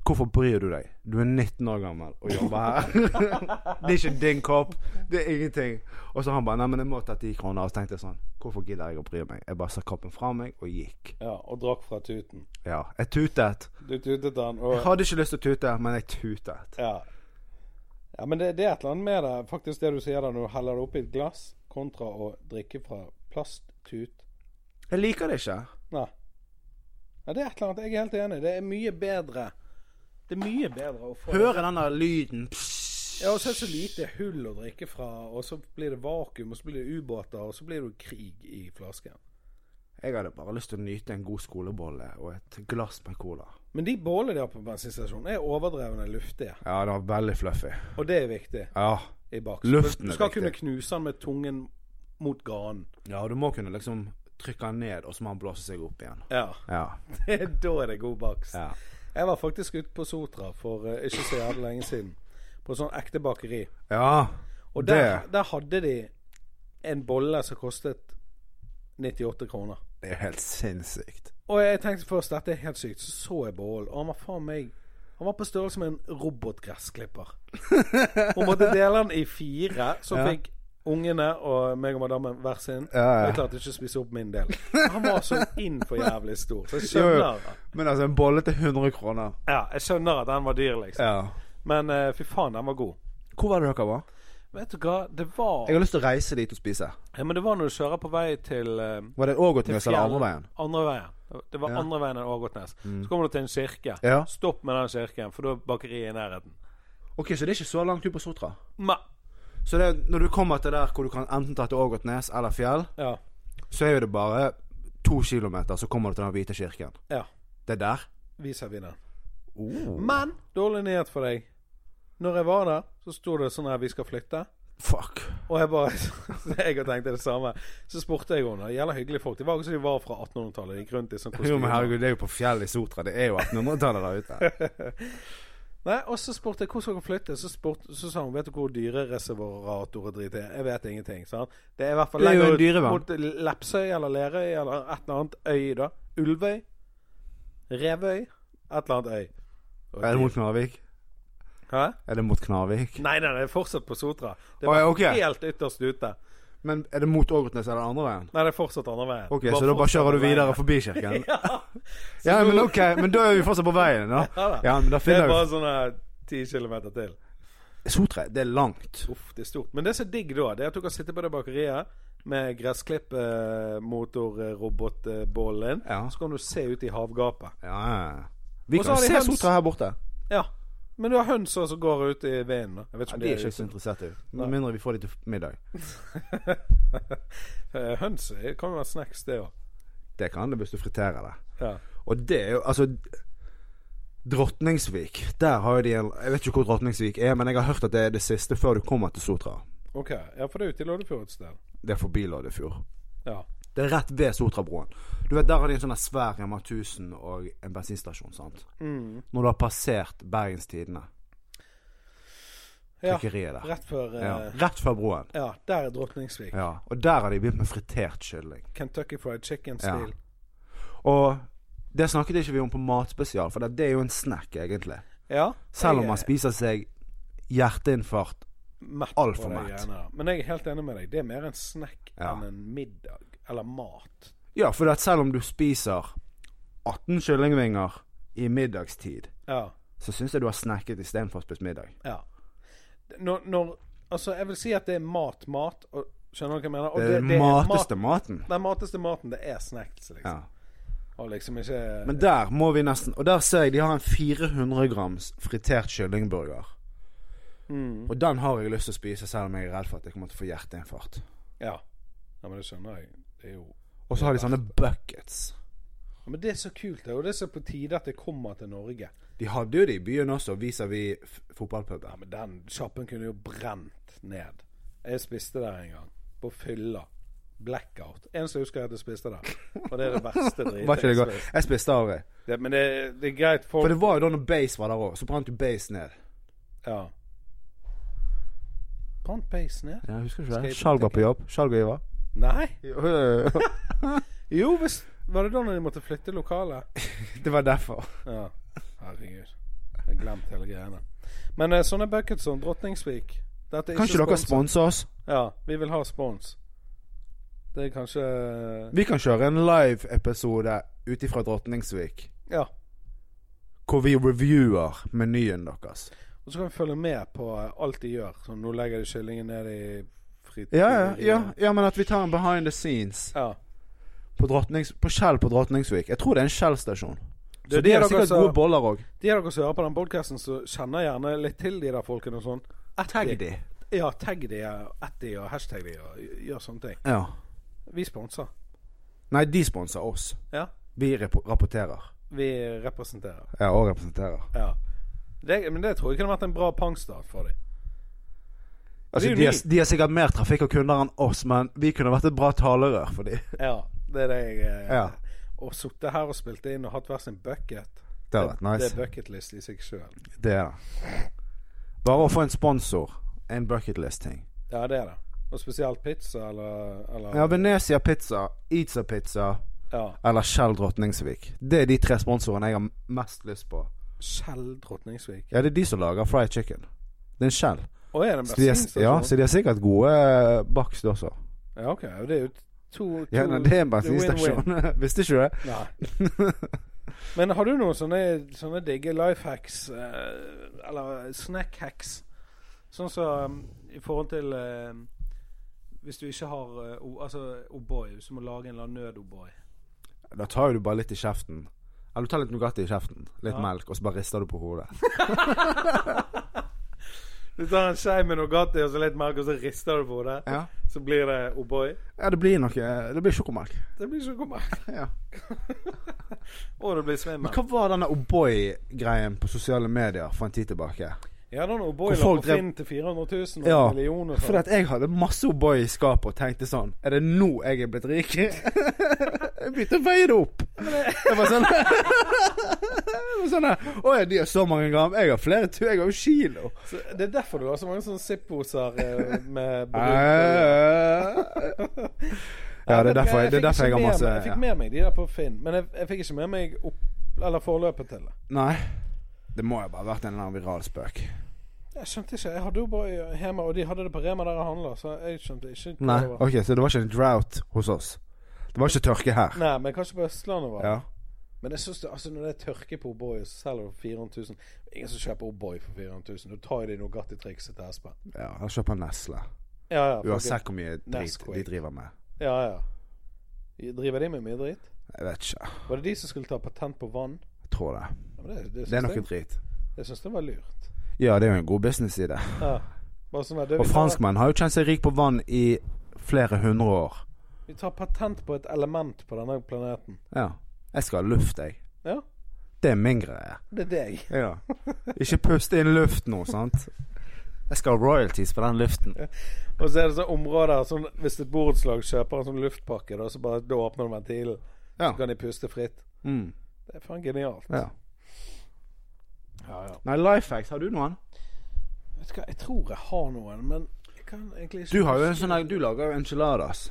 Hvorfor bryr du deg? Du er 19 år gammel og jobber her. det er ikke din kopp. Det er ingenting. Og så han bare Nei, men jeg må ta ti kroner. Og så tenkte jeg sånn Hvorfor gidder jeg å bry meg? Jeg bare sa koppen fra meg og gikk.
ja. Og drakk fra tuten.
Ja. Jeg tutet.
Du tutet den,
Jeg
og
hadde ikke lyst til å tute, men jeg tutet.
Ja. Ja, Men det, det er et eller annet med det. Faktisk det du sier der når du heller det oppi et glass, kontra å drikke fra plasttut.
Jeg liker det ikke.
Nei. Ja, det er et eller annet. Jeg er helt enig. Det er mye bedre. Det er mye bedre å få
Høre den der lyden. Pssst.
Ja, og så er det så lite hull å drikke fra, og så blir det vakuum, og så blir det ubåter, og så blir det krig i flasken.
Jeg hadde bare lyst til å nyte en god skolebolle og et glass med cola.
Men de bålene de har på bensinstasjonen, er overdrevne luftige.
Ja, det var veldig fluffy.
Og det er viktig
Ja.
i bak.
Luften
Du
er
skal
viktig.
kunne knuse den med tungen mot ganen.
ja, du må kunne liksom trykke den ned, og så må han blåse seg opp igjen.
Ja.
Ja.
da er *laughs* det god bakst.
ja.
Jeg var faktisk ute på Sotra for eh, ikke så jævlig lenge siden. På sånn ekte bakeri.
Ja.
Og der, der hadde de en bolle som kostet 98 kroner.
Det er jo helt sinnssykt.
Og jeg tenkte først dette er helt sykt. Så så jeg Bål, og han var faen meg Han var på størrelse med en robotgressklipper.
*laughs*
Hun måtte dele den i fire, så
Ja.
fikk ungene og meg og madammen hver sin.
Ja, ja.
Jeg klarte ikke å spise opp min del. Han var så inn for jævlig stor. Så jeg
*laughs* Jo, jo.
skjønner,
Men altså, en bolle til 100 kroner.
ja, jeg skjønner at den var dyr, liksom.
Ja.
Men eh, fy faen, den var god.
Hvor var det dere var?
Vet du hva, det var
Jeg har lyst til å reise dit og spise.
ja, Men det var når du kjører på vei til eh,
Var det Ågotnes eller
fjell-
andre veien?
Andre veien. Det var
Ja. Mm.
andre veien enn Ågotnes. Så kommer du til en kirke.
Ja.
Stopp med den kirken, for da er bakeriet i nærheten.
Ok, så det er ikke så langt ut på Sotra.
Ma.
Så det, er- når du kommer til der hvor du kan enten ta til Ågotnes eller fjell,
Ja.
så er jo det bare to kilometer, så kommer du til den hvite kirken.
ja.
Det er der.
Viser vinneren.
Oh.
Men dårlig nyhet for deg. Når jeg var der, så sto det sånn her 'Vi skal flytte'.
Fuck.
Og jeg bare *laughs* så Jeg og tenkte det samme. Så spurte jeg henne. Det gjelder hyggelige folk. De var jo som de var fra 1800-tallet. De gikk rundt i sånn
Jo, men
kostyme.
herregud, det er jo på fjell i Sotra. Det er jo 1800-tallet der
*laughs*
ute.
Nei, og så spurte jeg hvor skal dere flytte. Så, spurte, så sa hun vet du hvor dyrereservator og drit er. Jeg vet ingenting. sant? Det er i hvert fall
Det er jo
lenger
en
ut
dyrevern.
mot Lepsøy eller Lerøy eller et eller annet øy, da. Ulvøy? Revøy? Et eller annet øy. Og
Er det
dyr-
mot Knarvik?
Hæ?
Er det mot Knarvik?
Nei, nei, det er fortsatt på Sotra. Det
Å,
var
ja, ok.
helt ytterst ute.
Men er det mot Ågotnes eller andre veien?
Nei, det er fortsatt andre veien.
Ok,
Det var
så da bare
fortsatt
kjører du
andre
videre
veien.
forbi kirken?
*laughs* ja.
Ja, men ok, men da er vi fortsatt på veien, da.
*laughs* Ja da.
Ja, men da
Det er
finner
bare
vi
sånne ti kilometer til.
Sotra, det er langt.
Uff, det er stort. Men det som er digg da, det er at du kan sitte på det bakeriet med gressklippmotorrobotbålen din.
Ja.
Så kan du se ut i havgapet.
Ja, ja. ja. Vi
Og så
kan
har de
se
høns.
Sotra her borte.
Ja. Men du har hønser som går ut i vinden. da. Jeg vet ikke
Ja,
om
de er
det er
ikke så interessert i. Med mindre vi får de til middag.
Eh, Høns eh, kan jo være snacks, det òg.
Det kan det hvis du friterer det.
Ja.
Og det er jo Altså Drotningsvik. Der har jo de en Jeg vet ikke hvor Drotningsvik er, men jeg har hørt at det er det siste før du kommer til Sotra.
OK. Ja, for det er ute i Loddefjord et sted.
Det er forbi Loddefjord.
Ja.
Det er rett ved Sotrabroen. Du vet, Der har de en sånn der svær Rema 1000 og en bensinstasjon, sant.
Mm.
Når du har passert Bergens Tidende,
ja.
trykkeriet der.
Rett før eh,
Ja, rett før broen.
Ja, der er Drotningsvik.
Ja. Og der har de begynt med fritert kylling.
Kentucky Fried Chicken-stil.
Og det snakket ikke vi om på Matspesial, for det det er jo en snack, egentlig.
Ja.
Selv om
jeg
man
er
spiser seg hjerteinfarkt.
mett
alt
på
for
de
mett.
greiene der. Men jeg er helt enig med deg. Det er mer en snack
Ja.
enn en middag. Eller mat.
Ja, for at selv om du spiser 18 kyllingvinger i middagstid,
Ja.
så syns jeg du har snacket istedenfor å spise middag.
Ja. Når, når Altså, jeg vil si at det er mat-mat, og Skjønner du hva jeg mener? Og
Det er den mateste maten.
mat, den mateste maten. Det er snacks, liksom.
Ja.
Og liksom ikke
Men der må vi nesten Og der ser jeg de har en 400 grams fritert kyllingburger. Og den har jeg lyst til å spise, selv om jeg er redd for at jeg kommer til å få hjerteinfarkt.
ja. ja, men det skjønner jeg. Det er jo
Og så har de sånne buckets.
Ja, Men det er så kult, det. Og det er så på tide at det kommer til Norge.
De hadde jo det i byen også, vis-à-vis f-
Ja,
fotballpuben.
men den sjappen kunne jo brent ned. Jeg spiste der en gang. På fylla. Blackout. Eneste jeg husker, er at jeg spiste der. Og det er det
*laughs*
verste dritet.
Var ikke det
jeg
godt?
spiste.
Jeg spiste av det.
Det, men det, det er greit folk
For det var jo da når base var der òg, så brant jo base ned.
Ja. Brant peisen ned?
Ja, jeg husker
det.
ikke
Skjalg var på
jobb. Skjalg og Ivar.
Nei.
Jo,
Jo visst. Var det da når de måtte flytte lokalet?
*laughs* det var derfor.
Ja. Herregud. Jeg har glemt hele greiene. Men eh, sånne buckets som Drotningsvik Dette er
Kan ikke dere
sponset.
sponse oss?
Ja. Vi vil ha spons. Det er kanskje
Vi kan kjøre en live-episode ut ifra Drotningsvik.
Ja.
Hvor vi reviewer menyen deres.
Og så kan vi følge med på eh, alt de gjør. Sånn, nå legger de kyllingen ned i fritid.
Ja, ja, ja, ja, men at vi tar en behind the scenes
Ja.
på, Drottnings, på Kjell på Drotningsvik. Jeg tror det er en Kjell-stasjon.
Det
Så
er
de
det
har
dere
sikkert
sa-
gode boller òg.
De av dere som hører på den podkasten, som kjenner gjerne litt til de der folkene og sånn.
Tagg de.
Ja, tagg de, ett de og hashtag de og gjør sånne ting.
Ja.
Vi sponser.
Nei, de sponser oss.
Ja.
Vi repo- rapporterer.
Vi representerer.
Ja, og representerer.
Ja. Det, men det tror jeg kunne vært en bra pangstart for dem. Det
Altså,
er
de, har,
unikt.
de har sikkert mer trafikk og kunder enn oss, men vi kunne vært et bra talerør for de.
Ja. Det er det jeg eh,
*laughs* Ja.
Å sitte her og spilt inn og hatt hver sin bucket,
Det hadde vært
det
nice.
er bucketlist i seg sjøl.
Det er det. Bare å få en sponsor. En bucketlist-ting.
Ja, det er det. Og spesielt pizza eller, eller
Ja, Venezia Pizza, Eatsa Pizza
ja.
eller Kjell Drotningsvik. Det er de tre sponsorene jeg har mest lyst på.
Skjell Drotningsvik.
Ja, det er de som lager fried chicken. Det er en Kjell.
Å, er det en
Så de er,
bensinstasjon?
ja, så de har sikkert gode eh, bakst også.
Ja, ok. Det er jo to, to
Ja, nei, det er
win-win.
en bensinstasjon. *laughs* Visste ikke du det?
Nei. Men har du noen sånne, sånne digge life hacks, eh, eller snack hacks, sånn som eh, i forhold til eh, Hvis du ikke har eh, o, altså O'boy, hvis du må lage en eller annen nød-O'boy.
Da tar jo du bare litt i kjeften. Eller du tar litt Nugatti i kjeften, litt
Ja.
melk, og så bare rister du på
*laughs*
hodet.
Du tar en skei med Nugatti og så litt melk, og så rister du på det.
Ja,
Så blir det O'boy.
ja det blir noe Det blir sjokomelk.
Det blir sjokomelk.
Ja.
*laughs* Og det blir svimmel.
Men hva var denne O'boy-greien på sosiale medier for en tid tilbake?
Ja, da når
Hvor
O'boy la
folk
på
drev-
Finn til 400 000 og
Ja,
en million og
For
sånn.
at jeg hadde masse O'boy i skapet og tenkte sånn Er det nå jeg er blitt rik? *laughs* jeg begynte å veie det opp. Jeg var sånn *laughs* Jeg var sånn her, Å ja, de har så mange gram. Jeg har flere tu. Jeg har jo kilo.
Så Det er derfor du har så mange sånne Zipp-poser eh, med brun-
Eh. Ja, det er derfor, det er derfor jeg har
fikk ikke
masse
med meg- Jeg fikk
ja.
med meg de der på Finn, men jeg, jeg fikk ikke med meg opp, eller forløpet til det.
Nei. Det må jo bare ha vært en eller annen viral spøk.
Jeg skjønte ikke. Jeg hadde jo bare hjemme, og de hadde det på Rema der jeg handla, så jeg skjønte ikke hva
Nei,
det var.
ok, Så det var ikke en drought hos oss? Det var ikke tørke her?
Nei, men kanskje på Østlandet var det.
Ja.
Men jeg synes det, altså når det er tørke på O'boy, og så selger du for 400 000 Ingen som kjøper O'boy for 400 000. Da tar jo de Nugatti-trikset til Espen.
ja jeg kjøper Nesle.
Ja, ja. fuck it.
Uansett hvor mye drit
Nesquik.
de driver med.
Ja, ja. Driver de med mye drit?
Jeg vet ikke.
Var det de som skulle ta patent på vann?
Jeg tror det.
Ja, men det, det,
Det er
synes
noe
jeg,
drit.
jeg syns det var lurt.
Ja, det er jo en god business i det.
Ja. Bare sånn at det,
Og
vi tar-
franskmenn har jo kjent seg rik på vann i flere hundre år.
Vi tar patent på et element på denne planeten.
Ja. Jeg skal ha luft, jeg.
Ja,
Det er min greie.
det er deg.
Ja. *laughs* Ikke puste inn luft nå, sant? Jeg skal ha royalties på den luften.
Og så er det sånne områder sånn, Hvis et borettslag kjøper en sånn luftpakke, da, så bare da åpner du ventilen,
Ja.
så kan de puste fritt.
Mm.
Det er faen genialt.
ja.
Ja, ja.
Nei, life hacks, har du noen?
Vet du hva, jeg tror jeg har noen, men jeg kan egentlig ikke
Du har jo en sånn her Du lager jo enchiladas.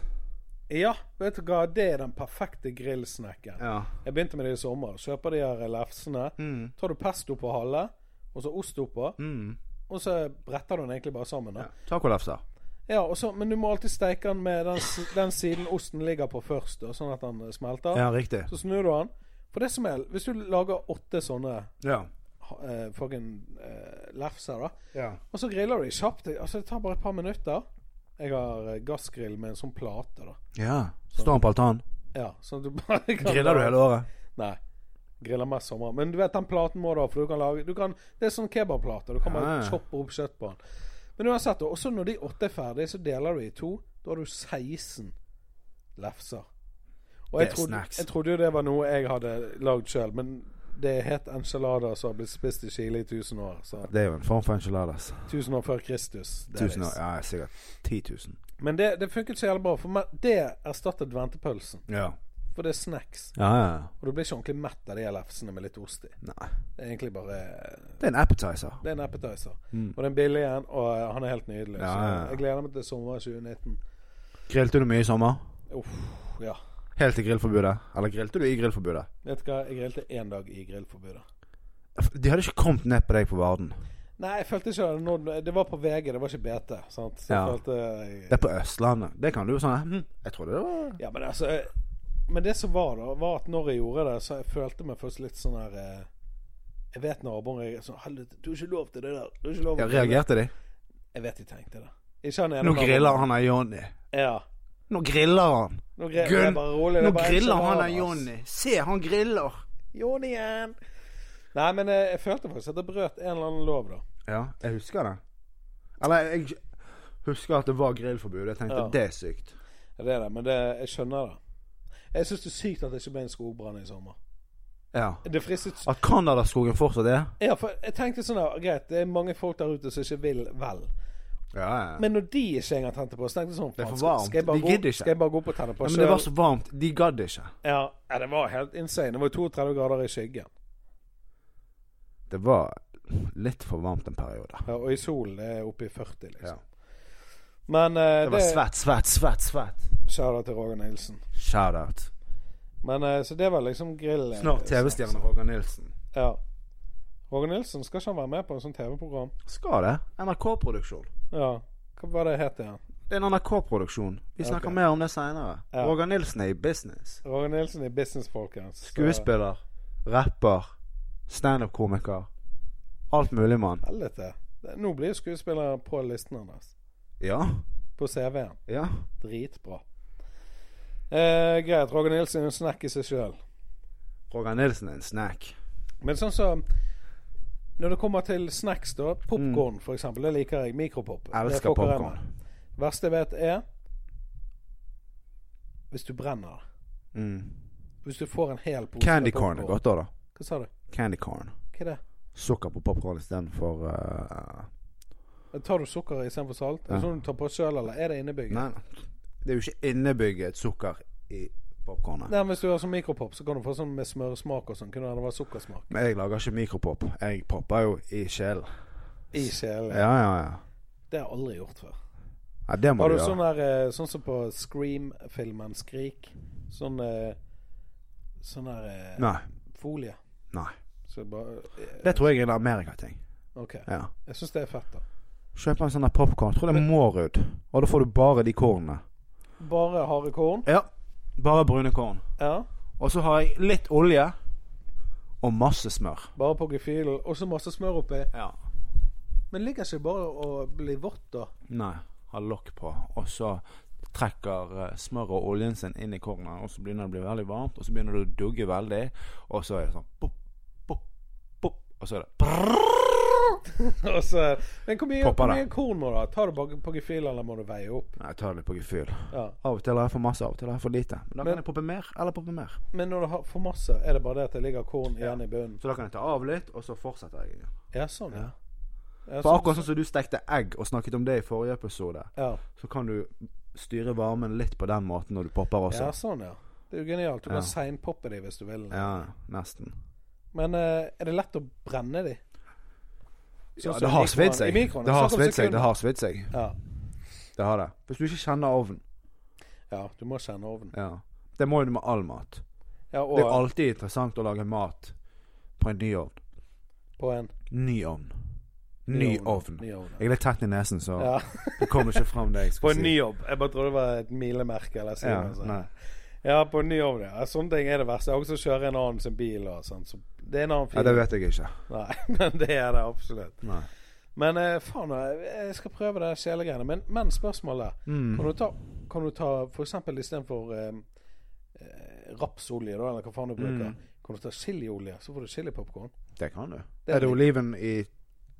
Ja, vet du hva, det er den perfekte grillsnekken.
Ja.
Jeg begynte med det i sommer. Kjøper de her lefsene.
Mm.
Tar du pesto på halve, og så ost oppå,
Mm.
og så bretter du den egentlig bare sammen. da.
Ja. Tacolefser.
Ja, og så, men du må alltid steike den med den, s- den siden osten ligger på først, da, sånn at den eh, smelter.
Ja, riktig.
Så snur du den. For det som er, hvis du lager åtte sånne
Ja.
ha- eh, fucking eh, lefser, da,
ja.
og så griller du de kjapt altså Det tar bare et par minutter. Jeg har eh, gassgrill med en sånn plate, da.
Ja. Står han på altanen?
Ja, sånn at du bare *laughs* kan
Griller du hele året?
Nei. Griller mest sommer. Men du vet, den platen må du ha, for du kan lage du kan, Det er sånn kebabplate. Du kan bare
Ja.
choppe opp kjøtt på den. Men uansett, da, også når de åtte er ferdige, så deler du i to. Da har du 16 lefser. Og jeg
Det er
trodde,
snacks.
jeg trodde jo det var noe jeg hadde lagd sjøl, men det er het enchilader som har blitt spist i Chile i 1000 år. Så
Det er jo en form for enchiladas.
1000 år før Kristus. det er
Tusen år.
det.
Ja, sikkert 10 000.
Men det, det funket så jævlig bra, for meg, det erstattet ventepølsen.
Ja.
For det er snacks.
Ja, ja, ja.
Og du blir ikke ordentlig mett av de lefsene med litt ost i.
Nei.
Det er egentlig bare
Det er en appetizer.
Det er en appetizer. Og den er billig igjen, og eh, han er helt nydelig.
Mm. Ja,
så
ja, ja.
jeg gleder meg til sommeren 2019.
Grilte du mye i sommer?
Uff, ja.
Helt til grillforbudet? Eller grilte du i grillforbudet?
Vet du hva, jeg grilte én dag i grillforbudet.
De hadde ikke kommet ned på deg på Varden.
Nei, jeg følte ikke det nådd Det var på VG, det var ikke BT. Sant? Så jeg
Ja.
følte
Det er på Østlandet. Det kan du jo sånn hm, Jeg trodde det var
Ja, men altså eh, Men det som var, da, var at når jeg gjorde det, så jeg følte meg først litt sånn her eh, Jeg vet naboen reagerte sånn Helvete, du har ikke lov til det der. Du har ikke lov
ja,
til det der.»
Reagerte de?
Jeg vet de tenkte det. Ikke han ene
Nå
naboen.
griller han av Johnny.
Ja.
Nå griller han.
Nå, gre- det er
Gunn,
bare rolig, det
nå
er bare
griller han
enchiladas.
av Johnny. Se, han griller.
Jon igjen! Nei, men eh, jeg følte faktisk at jeg brøt en eller annen lov, da.
Ja, jeg husker det. Eller jeg husker at det var grillforbud. Jeg tenkte
Ja.
det er sykt.
Det er det, men det, jeg skjønner det. Jeg syns det er sykt at det ikke ble en skogbrann i sommer.
Ja.
Det fristet
At Canadaskogen fortsatt er
Ja, for jeg tenkte sånn der, greit, det er mange folk der ute som ikke vil vel.
Ja, ja. Men,
Men når de ikke engang tente på, så tenkte jeg sånn
Det er for
faen, skal-
varmt.
Skal jeg bare
De
gå-
gidder ikke.
Skal jeg bare gå opp og tenne på
ja, men
selv?
det var så varmt. De gadd ikke.
ja, ja, det var helt insane. Det var jo 32 grader i skyggen.
Det var litt for varmt en periode.
Ja, og i solen det er oppe i 40, liksom.
Ja.
Men eh,
Det
det,
var svært, svært, svært, svært.
Shout-out til Roger Nilsen.
Shout-out.
Men eh, så det var liksom grill...
Snart TV-stjerne Roger Nilsen.
Ja. Roger Nilsen, skal ikke han være med på en sånn TV-program?
Skal det? NRK-produksjon.
Ja. Hva var det het det igjen?
Det er en NRK-produksjon. Vi snakker
Ok.
mer om det seinere.
Ja.
Roger Nilsen er i business.
Roger Nilsen i Business, folkens. Så-
Skuespiller, rapper, standup-komiker. Alt mulig, mann.
Helvete. Det- Nå blir skuespillere på listen hans.
Ja.
På CV-en.
Ja.
Dritbra. Eh, greit. Roger Nilsen er en snack i seg sjøl.
Roger Nilsen er en snack.
Men sånn som Når det kommer til snacks, da. Popkorn, for eksempel. Det liker jeg. Mikropop. Det
Mm. Elsker
fucker jeg
popcorn.
med. Verste jeg vet, er Hvis du brenner det.
Mm.
Hvis du får en hel pose
Candy
med popcorn.
corn er godt òg, da.
Hva sa du?
Candy corn.
Hva er det?
Sukker på popkorn istedenfor uh,
Tar du sukker istedenfor salt? Er det
Ja.
sånn du tar på sjøl, eller er det innebygget?
Nei, nei. Det er jo ikke innebygget sukker i popkornet.
Nei, men Hvis du har sånn mikropop, så kan du få sånn med smørsmak og sånn. Kunne det vært sukkersmak?
Men jeg lager ikke mikropop. Jeg popper jo i sjelen.
I kjelen.
Ja, ja, ja.
Det har jeg aldri gjort før.
Nei, det må
Har
du
du
gjøre.
sånn der eh, Sånn som på Scream-filmen Skrik. Sånn eh, Sånn der eh,
Nei.
folie.
Nei.
Så bare eh,
Det tror jeg er en Amerika-ting.
OK.
Ja.
Jeg syns det er fett, da.
Kjøp en sånn der popkorn. Tror det er Mårud. Og da får du bare de kornene.
Bare harde korn.
Ja. Bare brune korn.
Ja.
Og så har jeg litt olje. Og masse smør.
Bare på gefühlen. Og så masse smør oppi.
Ja.
Men ligger ikke bare å bli vått, da?
Nei. Har lokk på. Og så trekker eh, smøret og oljen sin inn i kornet. Og så begynner det å bli veldig varmt, og så begynner det å dugge veldig. Og så er det sånn pop, pop, pop. Og så er det prrrr.
*laughs* Og så- men hvor mye,
Popper
hvor
det.
mye korn må du ha? Tar du bare på gefühl, eller må du veie opp?
Nei, Jeg tar det litt på gefühl.
Ja.
Av og til har jeg for masse, av og til har jeg for lite. Men da
Men-
kan jeg poppe mer, eller poppe mer.
Men når du har for masse, er det bare det at det ligger korn igjen i bunnen?
Så da kan jeg ta av litt, og så fortsetter jeg igjen.
Ja, sånn, ja. ja
For akkurat sånn som du stekte egg og snakket om det i forrige episode,
Ja.
så kan du styre varmen litt på den måten når du popper også.
ja, sånn, ja. Det er jo genialt. Du
Ja.
kan seinpoppe de hvis du vil.
Ja, nesten.
Men eh, er det lett å brenne de? Sånn
Ja,
som
det
i
har
mikroen-
svidd seg.
i mikroen, sånn
Det har
snakk om
svidd seg.
sekunder.
Det har svidd seg.
Ja.
Det har det. Hvis du ikke kjenner ovnen.
ja, du må kjenne ovnen.
Ja. Det må jo du med all mat.
Ja,
Det er
og
alltid interessant å lage mat på en ny ovn.
på en
Ny ovn. Ny ovn.
Ny ovn.
Jeg er litt tett i nesen, så
Ja.
det kommer ikke
*laughs*
fram det jeg
På
skal
en
si.
ny jobb. Jeg bare trodde det var et milemerke. Eller
ja,
sånn.
nei.
Ja, på en ny ovn, ja. Sånne ting er det verste. Jeg har også kjører en annen sin bil og sånn. Så det er en annen
ja, det
feeling. *laughs*
vet jeg ikke.
Nei, men det er det absolutt.
Nei.
Men eh, faen, jeg jeg skal prøve det kjelegreiene. Men, men spørsmålet
Mm.
Kan du ta, kan du ta for eksempel istedenfor eh, eh, rapsolje, da, eller hva faen du
Mm.
bruker, kan du ta chiliolje, så får du chilipopkorn.
Det kan du.
Det er
er det
litt-
oliven i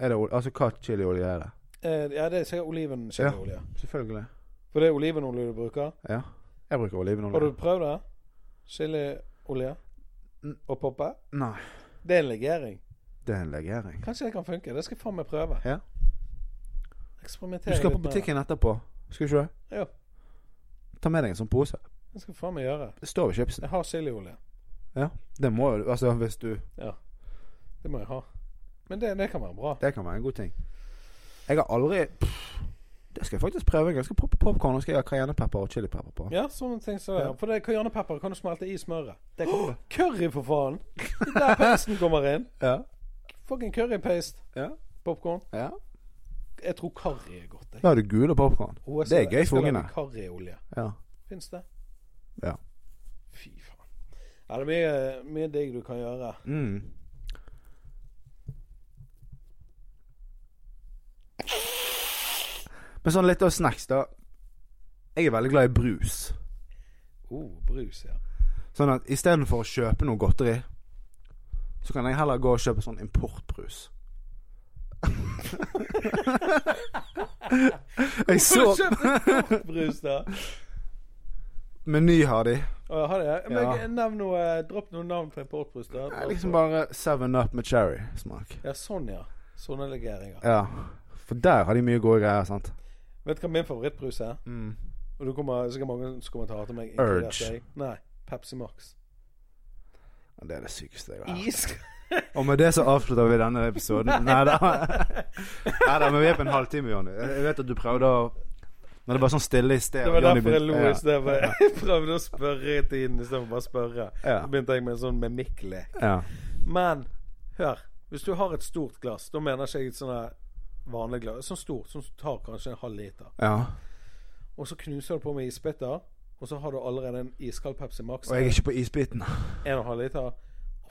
er det, ol- Altså hva chiliolje er det?
Eh, ja, det er sikkert olivenchiliolje.
Selvfølgelig.
For det er olivenolje du bruker.
Ja. Jeg bruker
Har du
olivenolje.
prøvd det? Chiliolje
Mm.
og poppe?
Nei.
Det er en legering.
Det er en legering.
Kanskje det kan funke. Det skal jeg faen meg prøve.
Ja. Du
Eksperimentere
skal på
litt med det.
butikken etterpå. Skal du ikke det?
Ja,
Ta med deg en sånn pose.
det skal jeg faen meg gjøre.
Det står ved chipsen.
Jeg har chiliolje.
Ja. Det må jo Altså, hvis du
Det må jeg ha. Men det, det kan være bra.
Det kan være en god ting. Jeg har aldri pff, Det skal jeg faktisk prøve. en gang. Jeg skal proppe popkorn og skal jeg ha cayennepepper og chilipepper på.
Ja, sånne ting som det.
Ja.
For det er cayennepepper kan du smelte i smøret.
Det kan du.
*gasps* Curry, for faen! Det er der pesten kommer inn.
Ja.
Fucking currypaste.
Ja.
Popkorn.
ja.
Jeg tror curry er godt. Jeg.
Da har du gule popkorn.
Å, jeg
Det er
skal-
gøy
jeg
for
skal lage
ungene.
Curryolje.
Ja.
Fins det?
Ja.
Fy faen. Ja, det er mye, mye digg du kan gjøre.
Mm. Men sånn litt av snacks, da. Jeg er veldig glad i brus.
Oh, brus, ja.
Sånn at istedenfor å kjøpe noe godteri, så kan jeg heller gå og kjøpe sånn
*laughs*
importbrus. jeg
Har du
så
kjøpt kort brus, da?
Meny har de.
Å, har det? Men
Ja.
nevn noe, eh, dropp noen navn på importbrus. da.
Det er Liksom bare Seven Up med cherry-smak.
Ja, sånn, ja. Sånne legeringer.
Ja. For der har de mye gode greier, sant?
Vet du hva min favorittbrus er?
Mm.
Og du kommer sikkert mange som kommer til å hate meg. inkludert
Urge.
deg. Nei. Pepsi Max.
Og Det er det sykeste jeg har hørt.
*laughs* Is.
Og med det så avslutter vi denne episoden.
*laughs*
Nei da. men vi er på en halvtime, Jonny. Jeg vet at du prøvde å Når det var sånn stille i sted
Det
og
var
Johnny
derfor jeg lo
begynte-
i stedet. for Jeg *laughs* prøvde å spørre i tiden istedenfor bare å spørre.
Ja.
Så begynte jeg med en sånn mimikkle.
Ja.
Men hør. Hvis du har et stort glass, da mener ikke jeg et sånn her vanlig glass. Sånn stort, sånn som tar kanskje en halv liter.
ja.
Og så knuser du på med isbiter, og så har du allerede en iskald Pepsi Max.
Og jeg er ikke på isbiten.
En og en halv liter. Å,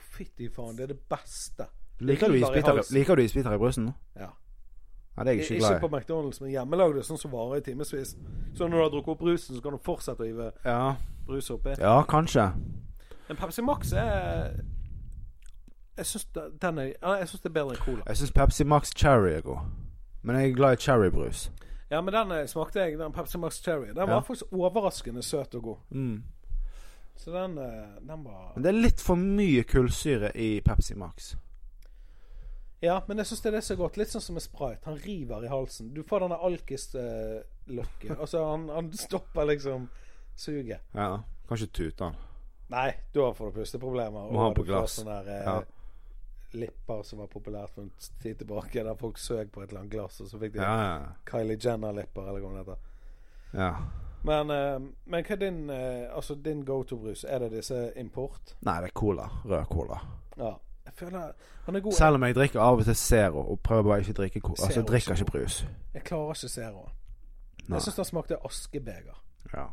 fytti faen, det er det beste.
Liker du
River i
isbiter,
halsen.
liker du isbiter i brusen?
Ja.
Nei, det er jeg
Ikke,
ikke glad i.
på McDonald's, men hjemmelagde, sånn som varer i timevis. Så når du har drukket opp brusen, så kan du fortsette å hive
Ja.
brus oppi.
ja, kanskje.
Men Pepsi Max er Jeg syns da- den er ja, Jeg synes det er bedre enn Cola.
Jeg syns Pepsi Max Cherry er god. Men jeg er glad i cherrybrus.
Ja, men den eh, smakte jeg, den Pepsi Max Cherry. Den var
Ja.
faktisk overraskende søt og god.
Mm.
Så den, eh, den var
Men det er litt for mye kullsyre i Pepsi Max.
Ja, men jeg syns det er det som er godt. Litt sånn som med Sprite. Han river i halsen. Du får denne alkis-lokket. altså, han, han stopper liksom suget.
Ja, Kanskje tute han.
Nei, da får du pusteproblemer.
Må ha
og
på
du får
glass.
Sånne der, eh,
Ja.
Lipper som var populært for en tid tilbake, der folk søk på et eller annet glass, og så fikk de
Ja, ja.
Kylie Jenner-lipper, eller hva det heter.
ja.
Men, eh, men hva er din, eh, altså din go to-brus? Er det disse import?
Nei, det er cola. Rød cola.
Ja. Jeg føler Han er god. Jeg,
Selv om jeg drikker av og til Zero og prøver bare ikke å drikke cola. Altså, jeg
Zero
drikker
også.
ikke brus.
jeg klarer ikke zeroen.
Nei.
Jeg syns den smakte askebeger.
Ja.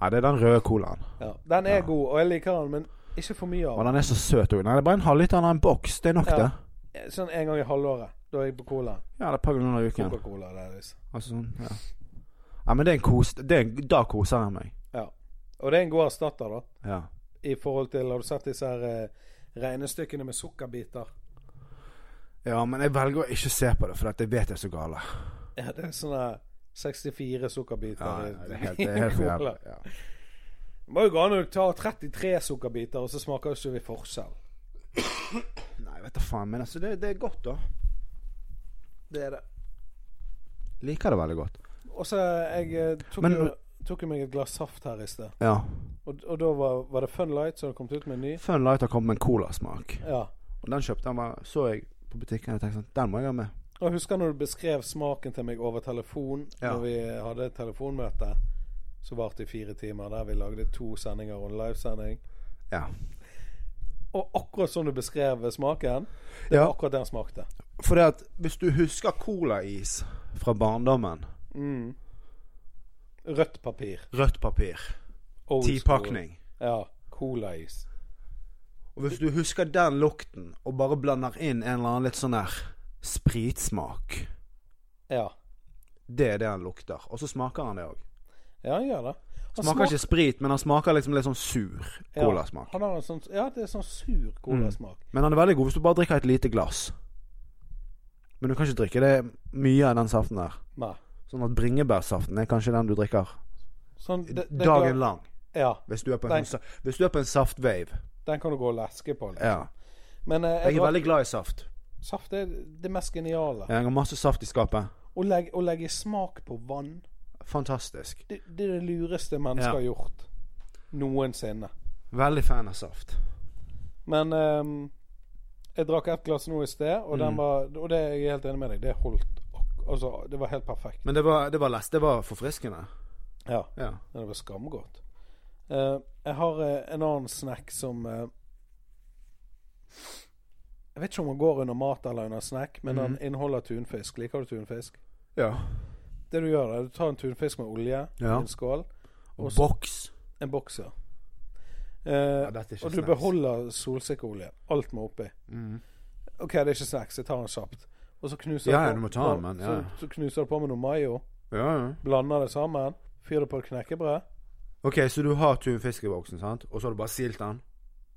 Nei, det er den røde colaen.
Ja. Den er god, og jeg liker den, men ikke for mye
Og
av den.
den er så søt òg. Nei, det er bare en halvliter av en boks. Det er nok,
Ja.
det.
Sånn en gang i halvåret. Da er jeg på cola.
Ja, det er et par ganger i uken.
Coca-Cola. det er liksom.
Altså sånn, ja. ja men det er en kos... Det er en, da koser jeg meg.
Ja. Og det er en god erstatter, da.
Ja.
I forhold til Har du sett disse her eh, regnestykkene med sukkerbiter?
ja, men jeg velger å ikke se på det, for at jeg vet det er så gale.
Ja, det er *laughs* sånne 64 sukkerbiter.
Ja,
i-
ja, det er helt, det er helt for
cola.
jævlig. Ja.
Det må jo gå an å ta 33 sukkerbiter, og så smaker jo ikke vi forskjell.
Nei, vet da faen, men altså, det, det er godt, da.
Det er det.
Liker det veldig godt.
Og så jeg eh, tok,
Men-
jo, tok jo meg et glass saft her i sted.
Ja.
Og, og da var, var det Fun Light som hadde kommet ut med en ny.
Fun Light har kommet med en colasmak.
Ja.
Og den kjøpte jeg bare, så jeg på butikken og tenkte sånn, den må jeg ha med.
Og jeg husker når du beskrev smaken til meg over telefon
Ja.
når vi hadde et telefonmøte som varte i fire timer, der vi lagde to sendinger og en livesending.
Ja.
Og akkurat som du beskrev smaken, det
Ja.
var akkurat det den smakte.
For det at hvis du husker colais fra barndommen,
Mm. Rødt papir.
rødt papir,
Old school.
tipakning
Ja. Colais.
Og hvis du husker den lukten, og bare blander inn en eller annen litt sånn her spritsmak
Ja.
Det er det han lukter. Og så smaker han det òg.
ja, han gjør det. Han
Smaker ikke sprit, men han smaker liksom litt sånn sur colasmak. Mm.
Ja, han har en sånn, ja, det er sånn sur colasmak.
Men han er veldig god hvis du bare drikker et lite glass. Men du kan ikke drikke det mye av den saften der.
Nei.
Sånn at bringebærsaften er kanskje den du drikker
Sånn, det, det
dagen lang.
Ja.
Hvis du er på
Nei.
en, sånn sa- hvis du er på en saftvave.
Den kan du gå og leske på. Liksom.
Ja.
Men eh,
Jeg
jeg
er
drakk,
veldig glad i saft.
saft er det mest geniale.
Jeg har masse saft i skapet.
Å, legge, å legge smak på vann,
Fantastisk.
det, det er det lureste mennesker har
Ja.
gjort noensinne.
Veldig fan av saft.
Men ehm, jeg drakk ett glass nå i sted, og, den var, og det er jeg helt enig med deg. Det holdt ak- Altså, det var helt perfekt.
Men det var, det var, lest, det var forfriskende.
Ja.
Ja.
Men det var skamgodt. Eh, jeg har eh, en annen snack som eh, Jeg vet ikke om den går under mat eller under snack, men den inneholder tunfisk. Liker du tunfisk?
ja.
Det du gjør, er du tar en tunfisk med olje
Ja.
i en skål.
Og
Også-
boks.
En bokser. Eh,
dette er ikke
og du
snacks. Mm.
beholder solsikkeolje. Alt må oppi. OK, det er ikke snacks. Jeg tar den kjapt. Og så knuser
Ja,
du
ja, du må ta den, men, ja.
så, så knuser du på med noe mayo.
Ja, ja.
Blander det sammen. Fyrer det på et knekkebrød.
Ok, så du har tunfisk i boksen, sant? Og så har du bare silt den.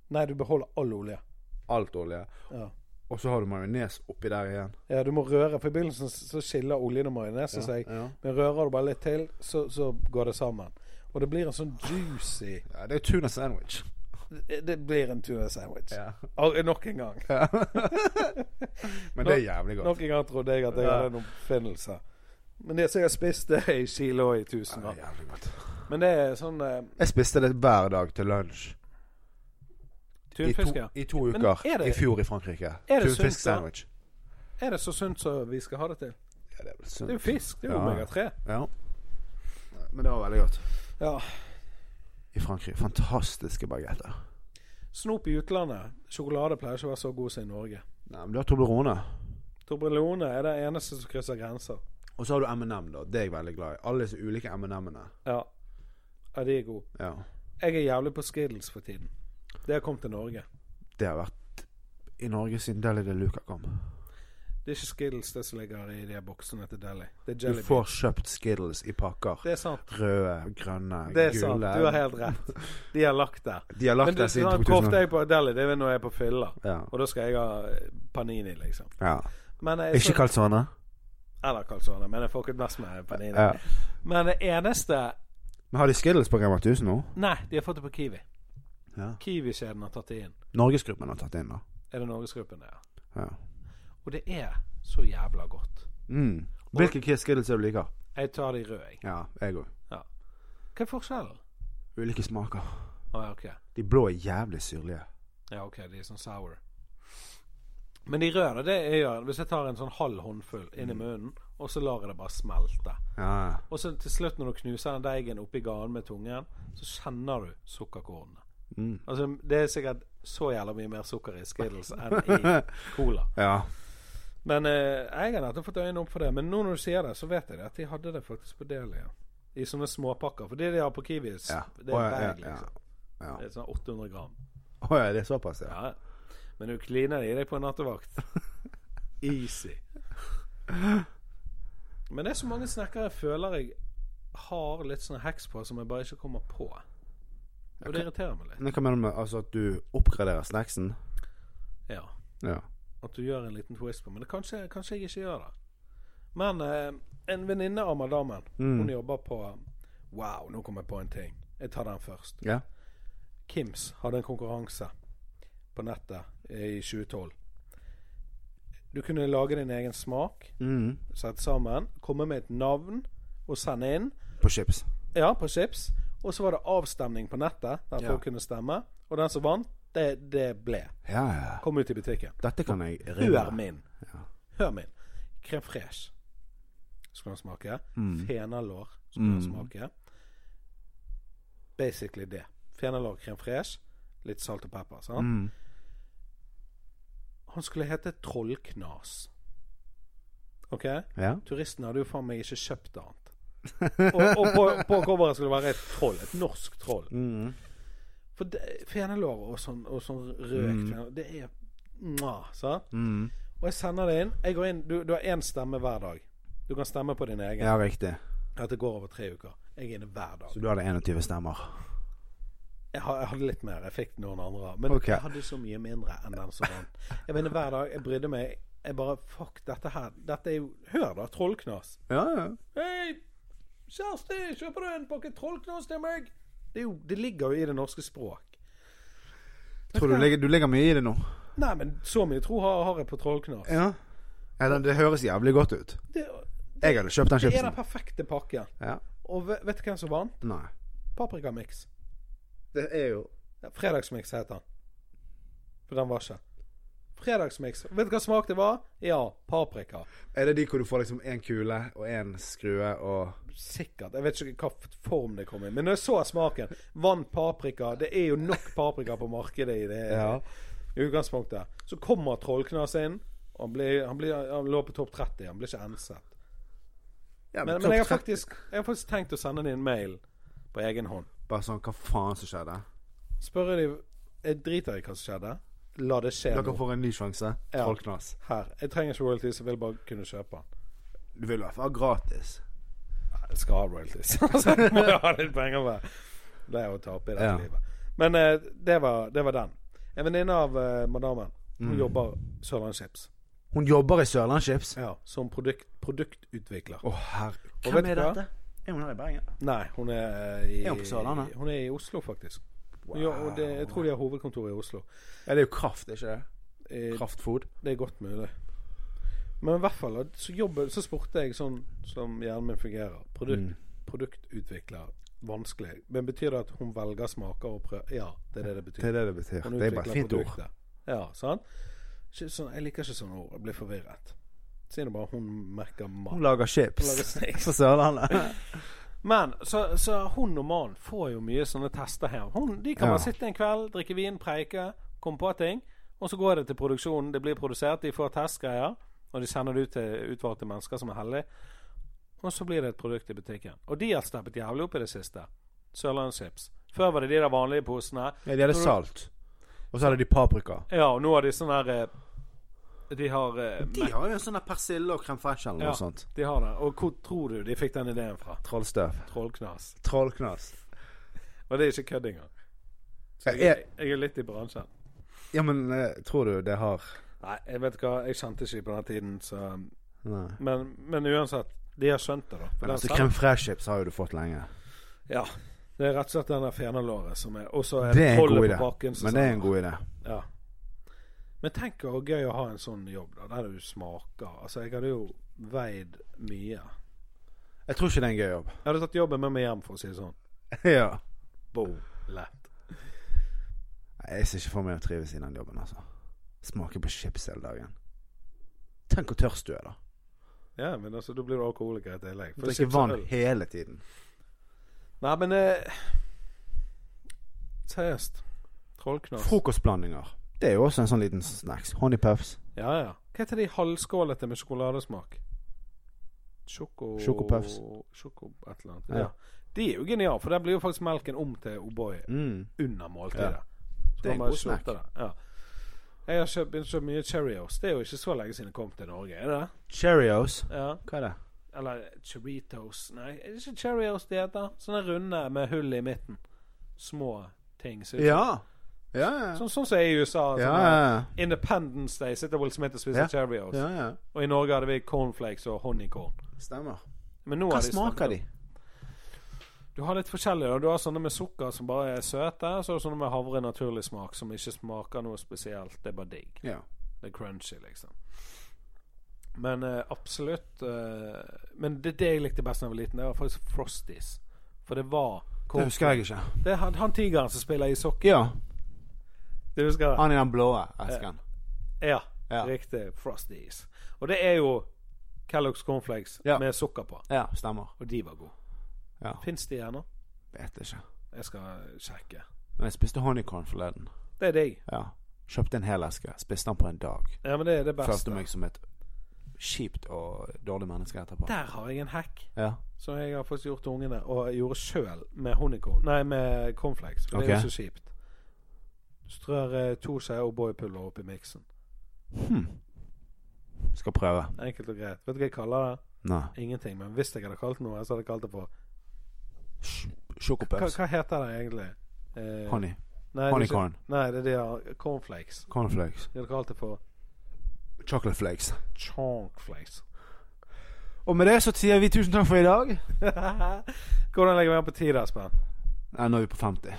Nei, du beholder all olje.
Alt olje.
Ja.
Og så har du majones oppi der igjen.
Ja, du må røre. For i begynnelsen så skiller oljen og majonesen seg.
ja.
Men rører du bare litt til, så, så går det sammen. Og det blir en sånn juicy
Ja, det er tuna sandwich.
Det, det blir en tuna sandwich.
Ja.
Al- eh, Nok en gang.
Men det er jævlig godt.
Nok en gang trodde jeg at jeg
Ja.
hadde en oppfinnelse. Men det som jeg har spist, det er i kilo og i tusen.
Ja,
år.
det er jævlig godt.
Men det er sånn eh,
Jeg spiste det hver dag til lunsj. I to,
Tunfisk, ja.
i to
Men
uker
er det-
i fjor i Frankrike.
det sunt,
Tunfisk
da?
sandwich.
Er det så sunt som vi skal ha det til?
Ja, det er
Det
vel
er
sunt.
jo fisk. Det er jo
Ja.
omega-3.
Ja. Men det var veldig godt.
Ja.
I Frankrike. Fantastiske bagetter.
Snop i utlandet. Sjokolade pleier ikke å være så god som i Norge.
Nei, men du har Toblerone.
Torbellone er det eneste som krysser grenser.
Og så har du M&M, da. Det er jeg veldig glad i. Alle disse ulike M&M-ene.
Ja. ja, de er gode.
Ja.
Jeg er jævlig på Skiddles for tiden. Det har kommet til Norge.
Det har vært i Norge siden Deli de Luca kom.
Det er ikke Skiddles det som ligger i de boksene til Deli. Det er
Du
Jelly Bean.
får kjøpt Skittles i pakker.
Det er sant.
Røde, grønne,
Det er sant.
gule.
Du har helt rett. De har lagt det.
De har
Men
*laughs* lagt
det
det
er
siden
sånn, hvor ofte
2000.
er jeg på Deli? Det er når jeg er på fylla.
Ja.
Og da skal jeg ha eh, panini, liksom.
ja.
Men jeg,
Ikke calzone?
Eller calzone, men jeg får ikke mest med panini.
Ja.
Men det eneste
Men har de Skittles på Rema 1000 nå?
Nei, de har fått det på Kiwi.
Ja.
Kiwi-kjeden har tatt det inn.
Norgesgruppen har tatt inn, da.
Er det Norgesgruppen, ja.
Ja.
Og det er så jævla godt.
Mm. Hvilke Kiss Skittles er du liker?
Jeg tar de røde, jeg.
Ja, jeg òg.
Hva er forskjellen?
Ulike smaker.
Å, ja, ok.
De blå er jævlig syrlige.
Ja, ok, de er sånn sour. Men de røde, det jeg gjør Hvis jeg tar en sånn halv håndfull inn
Mm.
i munnen, og så lar jeg det bare smelte.
Ja.
Og så til slutt, når du knuser den deigen oppi ganen med tungen, så kjenner du sukkerkornene.
Mm.
Altså, det er sikkert så jævla mye mer sukker i Skittles enn i
*laughs*
cola.
ja.
Men eh, jeg har nettopp fått øynene opp for det. Men nå når du sier det, så vet jeg det at de hadde det faktisk på Delia. Ja. I sånne småpakker. For det de har på Kiwis,
Ja.
det er
Å,
en
ja,
bag,
ja, ja.
liksom.
Ja.
Det er sånn 800 gram.
Å ja, det er såpass, ja.
Ja, men du kliner i deg på nattevakt. Easy. Men det er så mange snakker jeg føler jeg har litt sånn heks på, som jeg bare ikke kommer på. Og det irriterer meg litt.
Men hva mener du med altså, at du oppgraderer snacksen?
Ja,
Ja.
At du gjør en liten twist på Men det kanskje, kanskje jeg ikke gjør det. Men eh, en venninne av madammen,
Mm.
hun jobber på Wow, nå kom jeg på en ting. Jeg tar den først.
ja.
Kims hadde en konkurranse på nettet i 2012. Du kunne lage din egen smak,
Mm.
sette sammen, komme med et navn og sende inn.
På chips.
Ja, på chips. Og så var det avstemning på nettet, der
Ja.
folk kunne stemme. Og den som vant, det, det ble.
Ja, ja.
Kom ut i butikken.
Dette kan jeg
Hør
erindre.
min. Hør min. Crème fraîche skulle han smake. Fenalår skulle han smake. Basically det. Fenalår, crème fraîche, litt salt og pepper. Sant?
Mm.
Han skulle hete Trollknas. OK?
Ja.
Turistene hadde jo faen meg ikke kjøpt annet. Og, og på, på coveret skulle det være et troll. Et norsk troll.
Mm.
For det- fenalår og sånn, og sånn røkt fenalår, det er Mwah, sant?
Mm.
Og jeg sender det inn. Jeg går inn, du, du har én stemme hver dag. Du kan stemme på din egen.
Ja, riktig.
At det går over tre uker. Jeg er inne hver dag.
Så du hadde 21 stemmer.
Jeg, ha- jeg hadde litt mer. Jeg fikk noen andre. Men
Ok.
jeg hadde så mye mindre enn den som vant. Jeg var inne hver dag. Jeg brydde meg. Jeg bare Fuck, dette her Dette er jo Hør, da. Trollknas.
Ja, ja.
Hei, Kjersti, kjøper du en pakke trollknas til meg? Det, er jo, det ligger jo i det norske språk.
Tror du legger, du legger mye i det nå?
Nei, men så mye tro har, har jeg på trollknas.
Ja. det, det høres jævlig godt ut.
Det,
Jeg hadde kjøpt den
det er den
chipsen.
perfekte pakken.
Ja.
Og ve- vet du hvem som vant?
Nei.
Paprikamiks.
Det er jo
Ja, Fredagsmiks heter den. For den var ikke. Fredagsmiks. Vet du hva smak det var? Ja, paprika.
Er det de hvor du får liksom én kule og én skrue og
Sikkert. Jeg vet ikke hva f- form det kom i. Men når jeg så smaken Vant paprika. Det er jo nok paprika på markedet i det eh,
Ja.
i utgangspunktet. Så kommer Trollknas inn. Og han, blir, han, blir, han lå på topp 30. Han blir ikke enset.
ja,
Men,
topp
men jeg, har
30.
faktisk, jeg har faktisk tenkt å sende dem en mail på egen hånd.
Bare sånn Hva faen som skjedde?
Spørre dem Jeg driter i hva som skjedde. La det skje
Dere
nå.
får en ny sjanse.
Ja.
Trollknas.
Her. Jeg trenger ikke royalties, jeg vil bare kunne kjøpe den.
Du vil i hvert fall ha gratis.
Jeg skal ha
*laughs*
royalties. Så jeg må jo ha litt penger med. Det er å tape i dette
Ja.
livet. Men eh, det, var, det var den. En venninne av eh, madammen Hun
Mm.
jobber Sørlandet Chips
Hun jobber i Sørlandschips. Å,
ja, som produkt, produktutvikler.
herre
Og vet du hva?
Er hun her i Bergen?
Nei, hun er eh, i,
Er hun på Sørlandet?
Hun er i Oslo, faktisk. Hun gjør- og det, jeg tror de har hovedkontor i Oslo.
Ja, det er jo kraft, er ikke det?
Eh,
Kraftfôr.
Det er godt mulig. Men i hvert fall så, jobber, så spurte jeg sånn som hjernen min fungerer. Produkt,
Mm.
Produktutvikler. Vanskelig. Men betyr det at hun velger smaker og prøver? Ja, det er det det
Det
betyr.
er det det betyr.
Hun
Det er bare et
utvikler
fint ord.
produktet. Ja, sant? Ikke Sånn, jeg liker ikke sånne ord. Jeg blir forvirret. Si nå bare hun merker
Hun
mat.
lager
Hun lager
chips
snacks.
*laughs* på Sørlandet.
Men så, så hun og mannen får jo mye sånne tester her. Hun, de kan
Ja.
bare sitte en kveld, drikke vin, preike, komme på ting. Og så går det til produksjonen. Det blir produsert, de får testgreier. Og de sender det ut til utvalgte mennesker som er heldige. Og så blir det et produkt i butikken. Og de har steppet jævlig opp i det siste. Sørlandschips. Før var det de der vanlige posene.
Ja, de hadde salt. Og så hadde de paprika.
Ja, og nå har de sånn her eh, De har eh,
De har jo en sånn der persille og crème fraiche eller
Ja.
noe sånt.
De har det. Og hvor tror du de fikk den ideen fra?
Trollstøv.
Trollknas.
Trollknas.
Og det er ikke kødd engang. Så
Jeg-
jeg, jeg er litt i bransjen.
Ja, men eh, tror du det har
Nei, jeg vet hva, jeg kjente ikke på den tiden, så
Nei.
Men, men uansett, de har skjønt det, da.
Men altså,
Den-
crème fraiche chips har jo du fått lenge.
ja, det er rett og slett denne fenalåret som er Og så er
Det
det
er en god
trollet
idé.
på bakken. som
Men det er en
sa-
god idé.
ja. Men tenk hvor gøy å ha en sånn jobb, da, der du smaker. Altså, jeg hadde jo veid mye.
Jeg tror ikke det er en gøy jobb. *laughs*
Jeg hadde tatt jobben med meg hjem, for å si det sånn.
ja.
Boom. Lett.
Nei, Jeg ser ikke for meg å trives i den jobben, altså. Smake på chips hele dagen. Tenk hvor tørst du er, da.
Ja, men altså, da blir du alkoholiker i tillegg. For
Drikke
chips og
vann
øl-
hele tiden.
Nei, men eh, Seriøst. Trollknas.
Frokostblandinger. Det er jo også en sånn liten snacks. Honeypuffs.
Ja, ja. Hva heter de halvskålete med sjokoladesmak? Sjoko...
Sjokopuffs.
Sjoko... Et eller annet.
Ja.
Ja. De er jo geniale, for der blir jo faktisk melken om til O'boy
Mm.
under måltidet.
Ja.
Så
Det er
kan
en
man
god
slutte
snack.
det. Ja. Jeg har kjøpt, begynt å kjøpe mye Cheerios. Det er jo ikke så lenge siden jeg kom til Norge, er det det?
Cheerios.
Ja.
Hva er det?
Eller Cheritos Nei, er det ikke Cheerios de heter? Sånne runde med hull i midten. Små ting. så-
Ja. Ja, ja.
Sånn, sånn som er i USA.
Ja,
sånn,
ja.
eh, Independence Day sitter Will Smith og spiser
Ja.
Cheerios.
ja, ja.
Og i Norge hadde vi cornflakes og honningkorn.
Stemmer.
Men nå
Hva
har de
smaker de?
stemt opp. Du har litt forskjellig. da. Du har sånne med sukker som bare er søte. Så har du sånne med havre naturlig smak som ikke smaker noe spesielt. Det er bare digg.
Ja.
Det er crunchy, liksom. Men eh, absolutt eh, Men det, det jeg likte best da jeg var liten, det var faktisk Frosties. For det var
Det
corn-
husker jeg ikke.
Det er han, han tigeren som spiller i sokker.
Ja.
Du husker det?
Han i den blå esken.
Ja,
Ja.
riktig. Frosties. Og det er jo Kellogg's cornflakes
Ja.
med sukker på.
Ja, stemmer.
Og de var gode.
Ja.
Fins de ennå?
Vet ikke.
Jeg skal sjekke.
Men jeg spiste honeycorn forleden.
Det er digg.
Ja. Kjøpte en hel eske. Spiste den på en dag.
Ja, men det er det beste.
Følte meg som et kjipt og dårlig menneske etterpå.
Der har jeg en hack
Ja.
som jeg har faktisk gjort til ungene, og jeg gjorde sjøl med honeycomb Nei, med cornflakes, for det
Ok.
er jo så kjipt. Strør eh, to skjeer O'boy-pulver oppi miksen.
Hm. Skal prøve.
Enkelt og greit. Vet du hva jeg kaller det?
Nei.
Ingenting. Men hvis jeg hadde kalt det noe, så hadde jeg kalt det for
Sj-
Hva,
Sjokopøps.
hva heter det egentlig? Eh,
Honey.
Nei, det er ikke-
Honeycorn.
Nei, det er de der cornflakes.
Cornflakes.
De hadde kalt det for
Chocolate flakes.
chonkflakes.
Og med det så sier vi tusen takk for i dag.
Hvordan legger vi an på tid, Espen?
Nei, nå er vi på 50.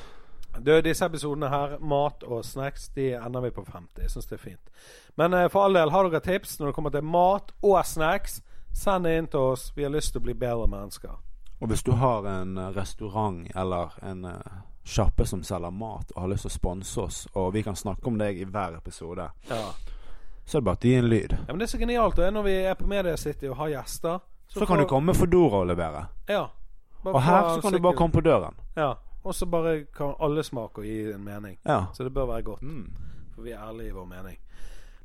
Du, disse episodene her, mat og snacks, de ender vi på 50. Jeg syns det er fint. Men eh, for all del, har dere tips når det kommer til mat og snacks, send det inn til oss. Vi har lyst til å bli bedre mennesker.
Og hvis du har en eh, restaurant eller en eh, sjappe som selger mat og har lyst til å sponse oss, og vi kan snakke om deg i hver episode,
Ja.
så er det bare å gi en lyd.
Ja, men det er så genialt det er når vi er på Media City og har gjester.
Så kan du komme med Foodora og levere.
Ja. Bare
Og
få
her
en
så kan du
sykkel.
bare komme på døren.
Ja. Og så bare kan alle smake og gi en mening.
Ja.
Så det bør være godt.
Mm.
For vi er ærlige i vår mening.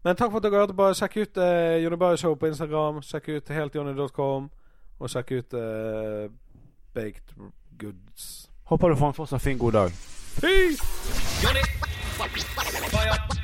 Men takk for at dere hørte på. Sjekk ut eh, Jonny Bøe Show på Instagram. Sjekk ut heltjonny.com. Og sjekk ut eh, Baked Goods.
Håper du får en fortsatt fin god dag.
Peace!
Unit, fire.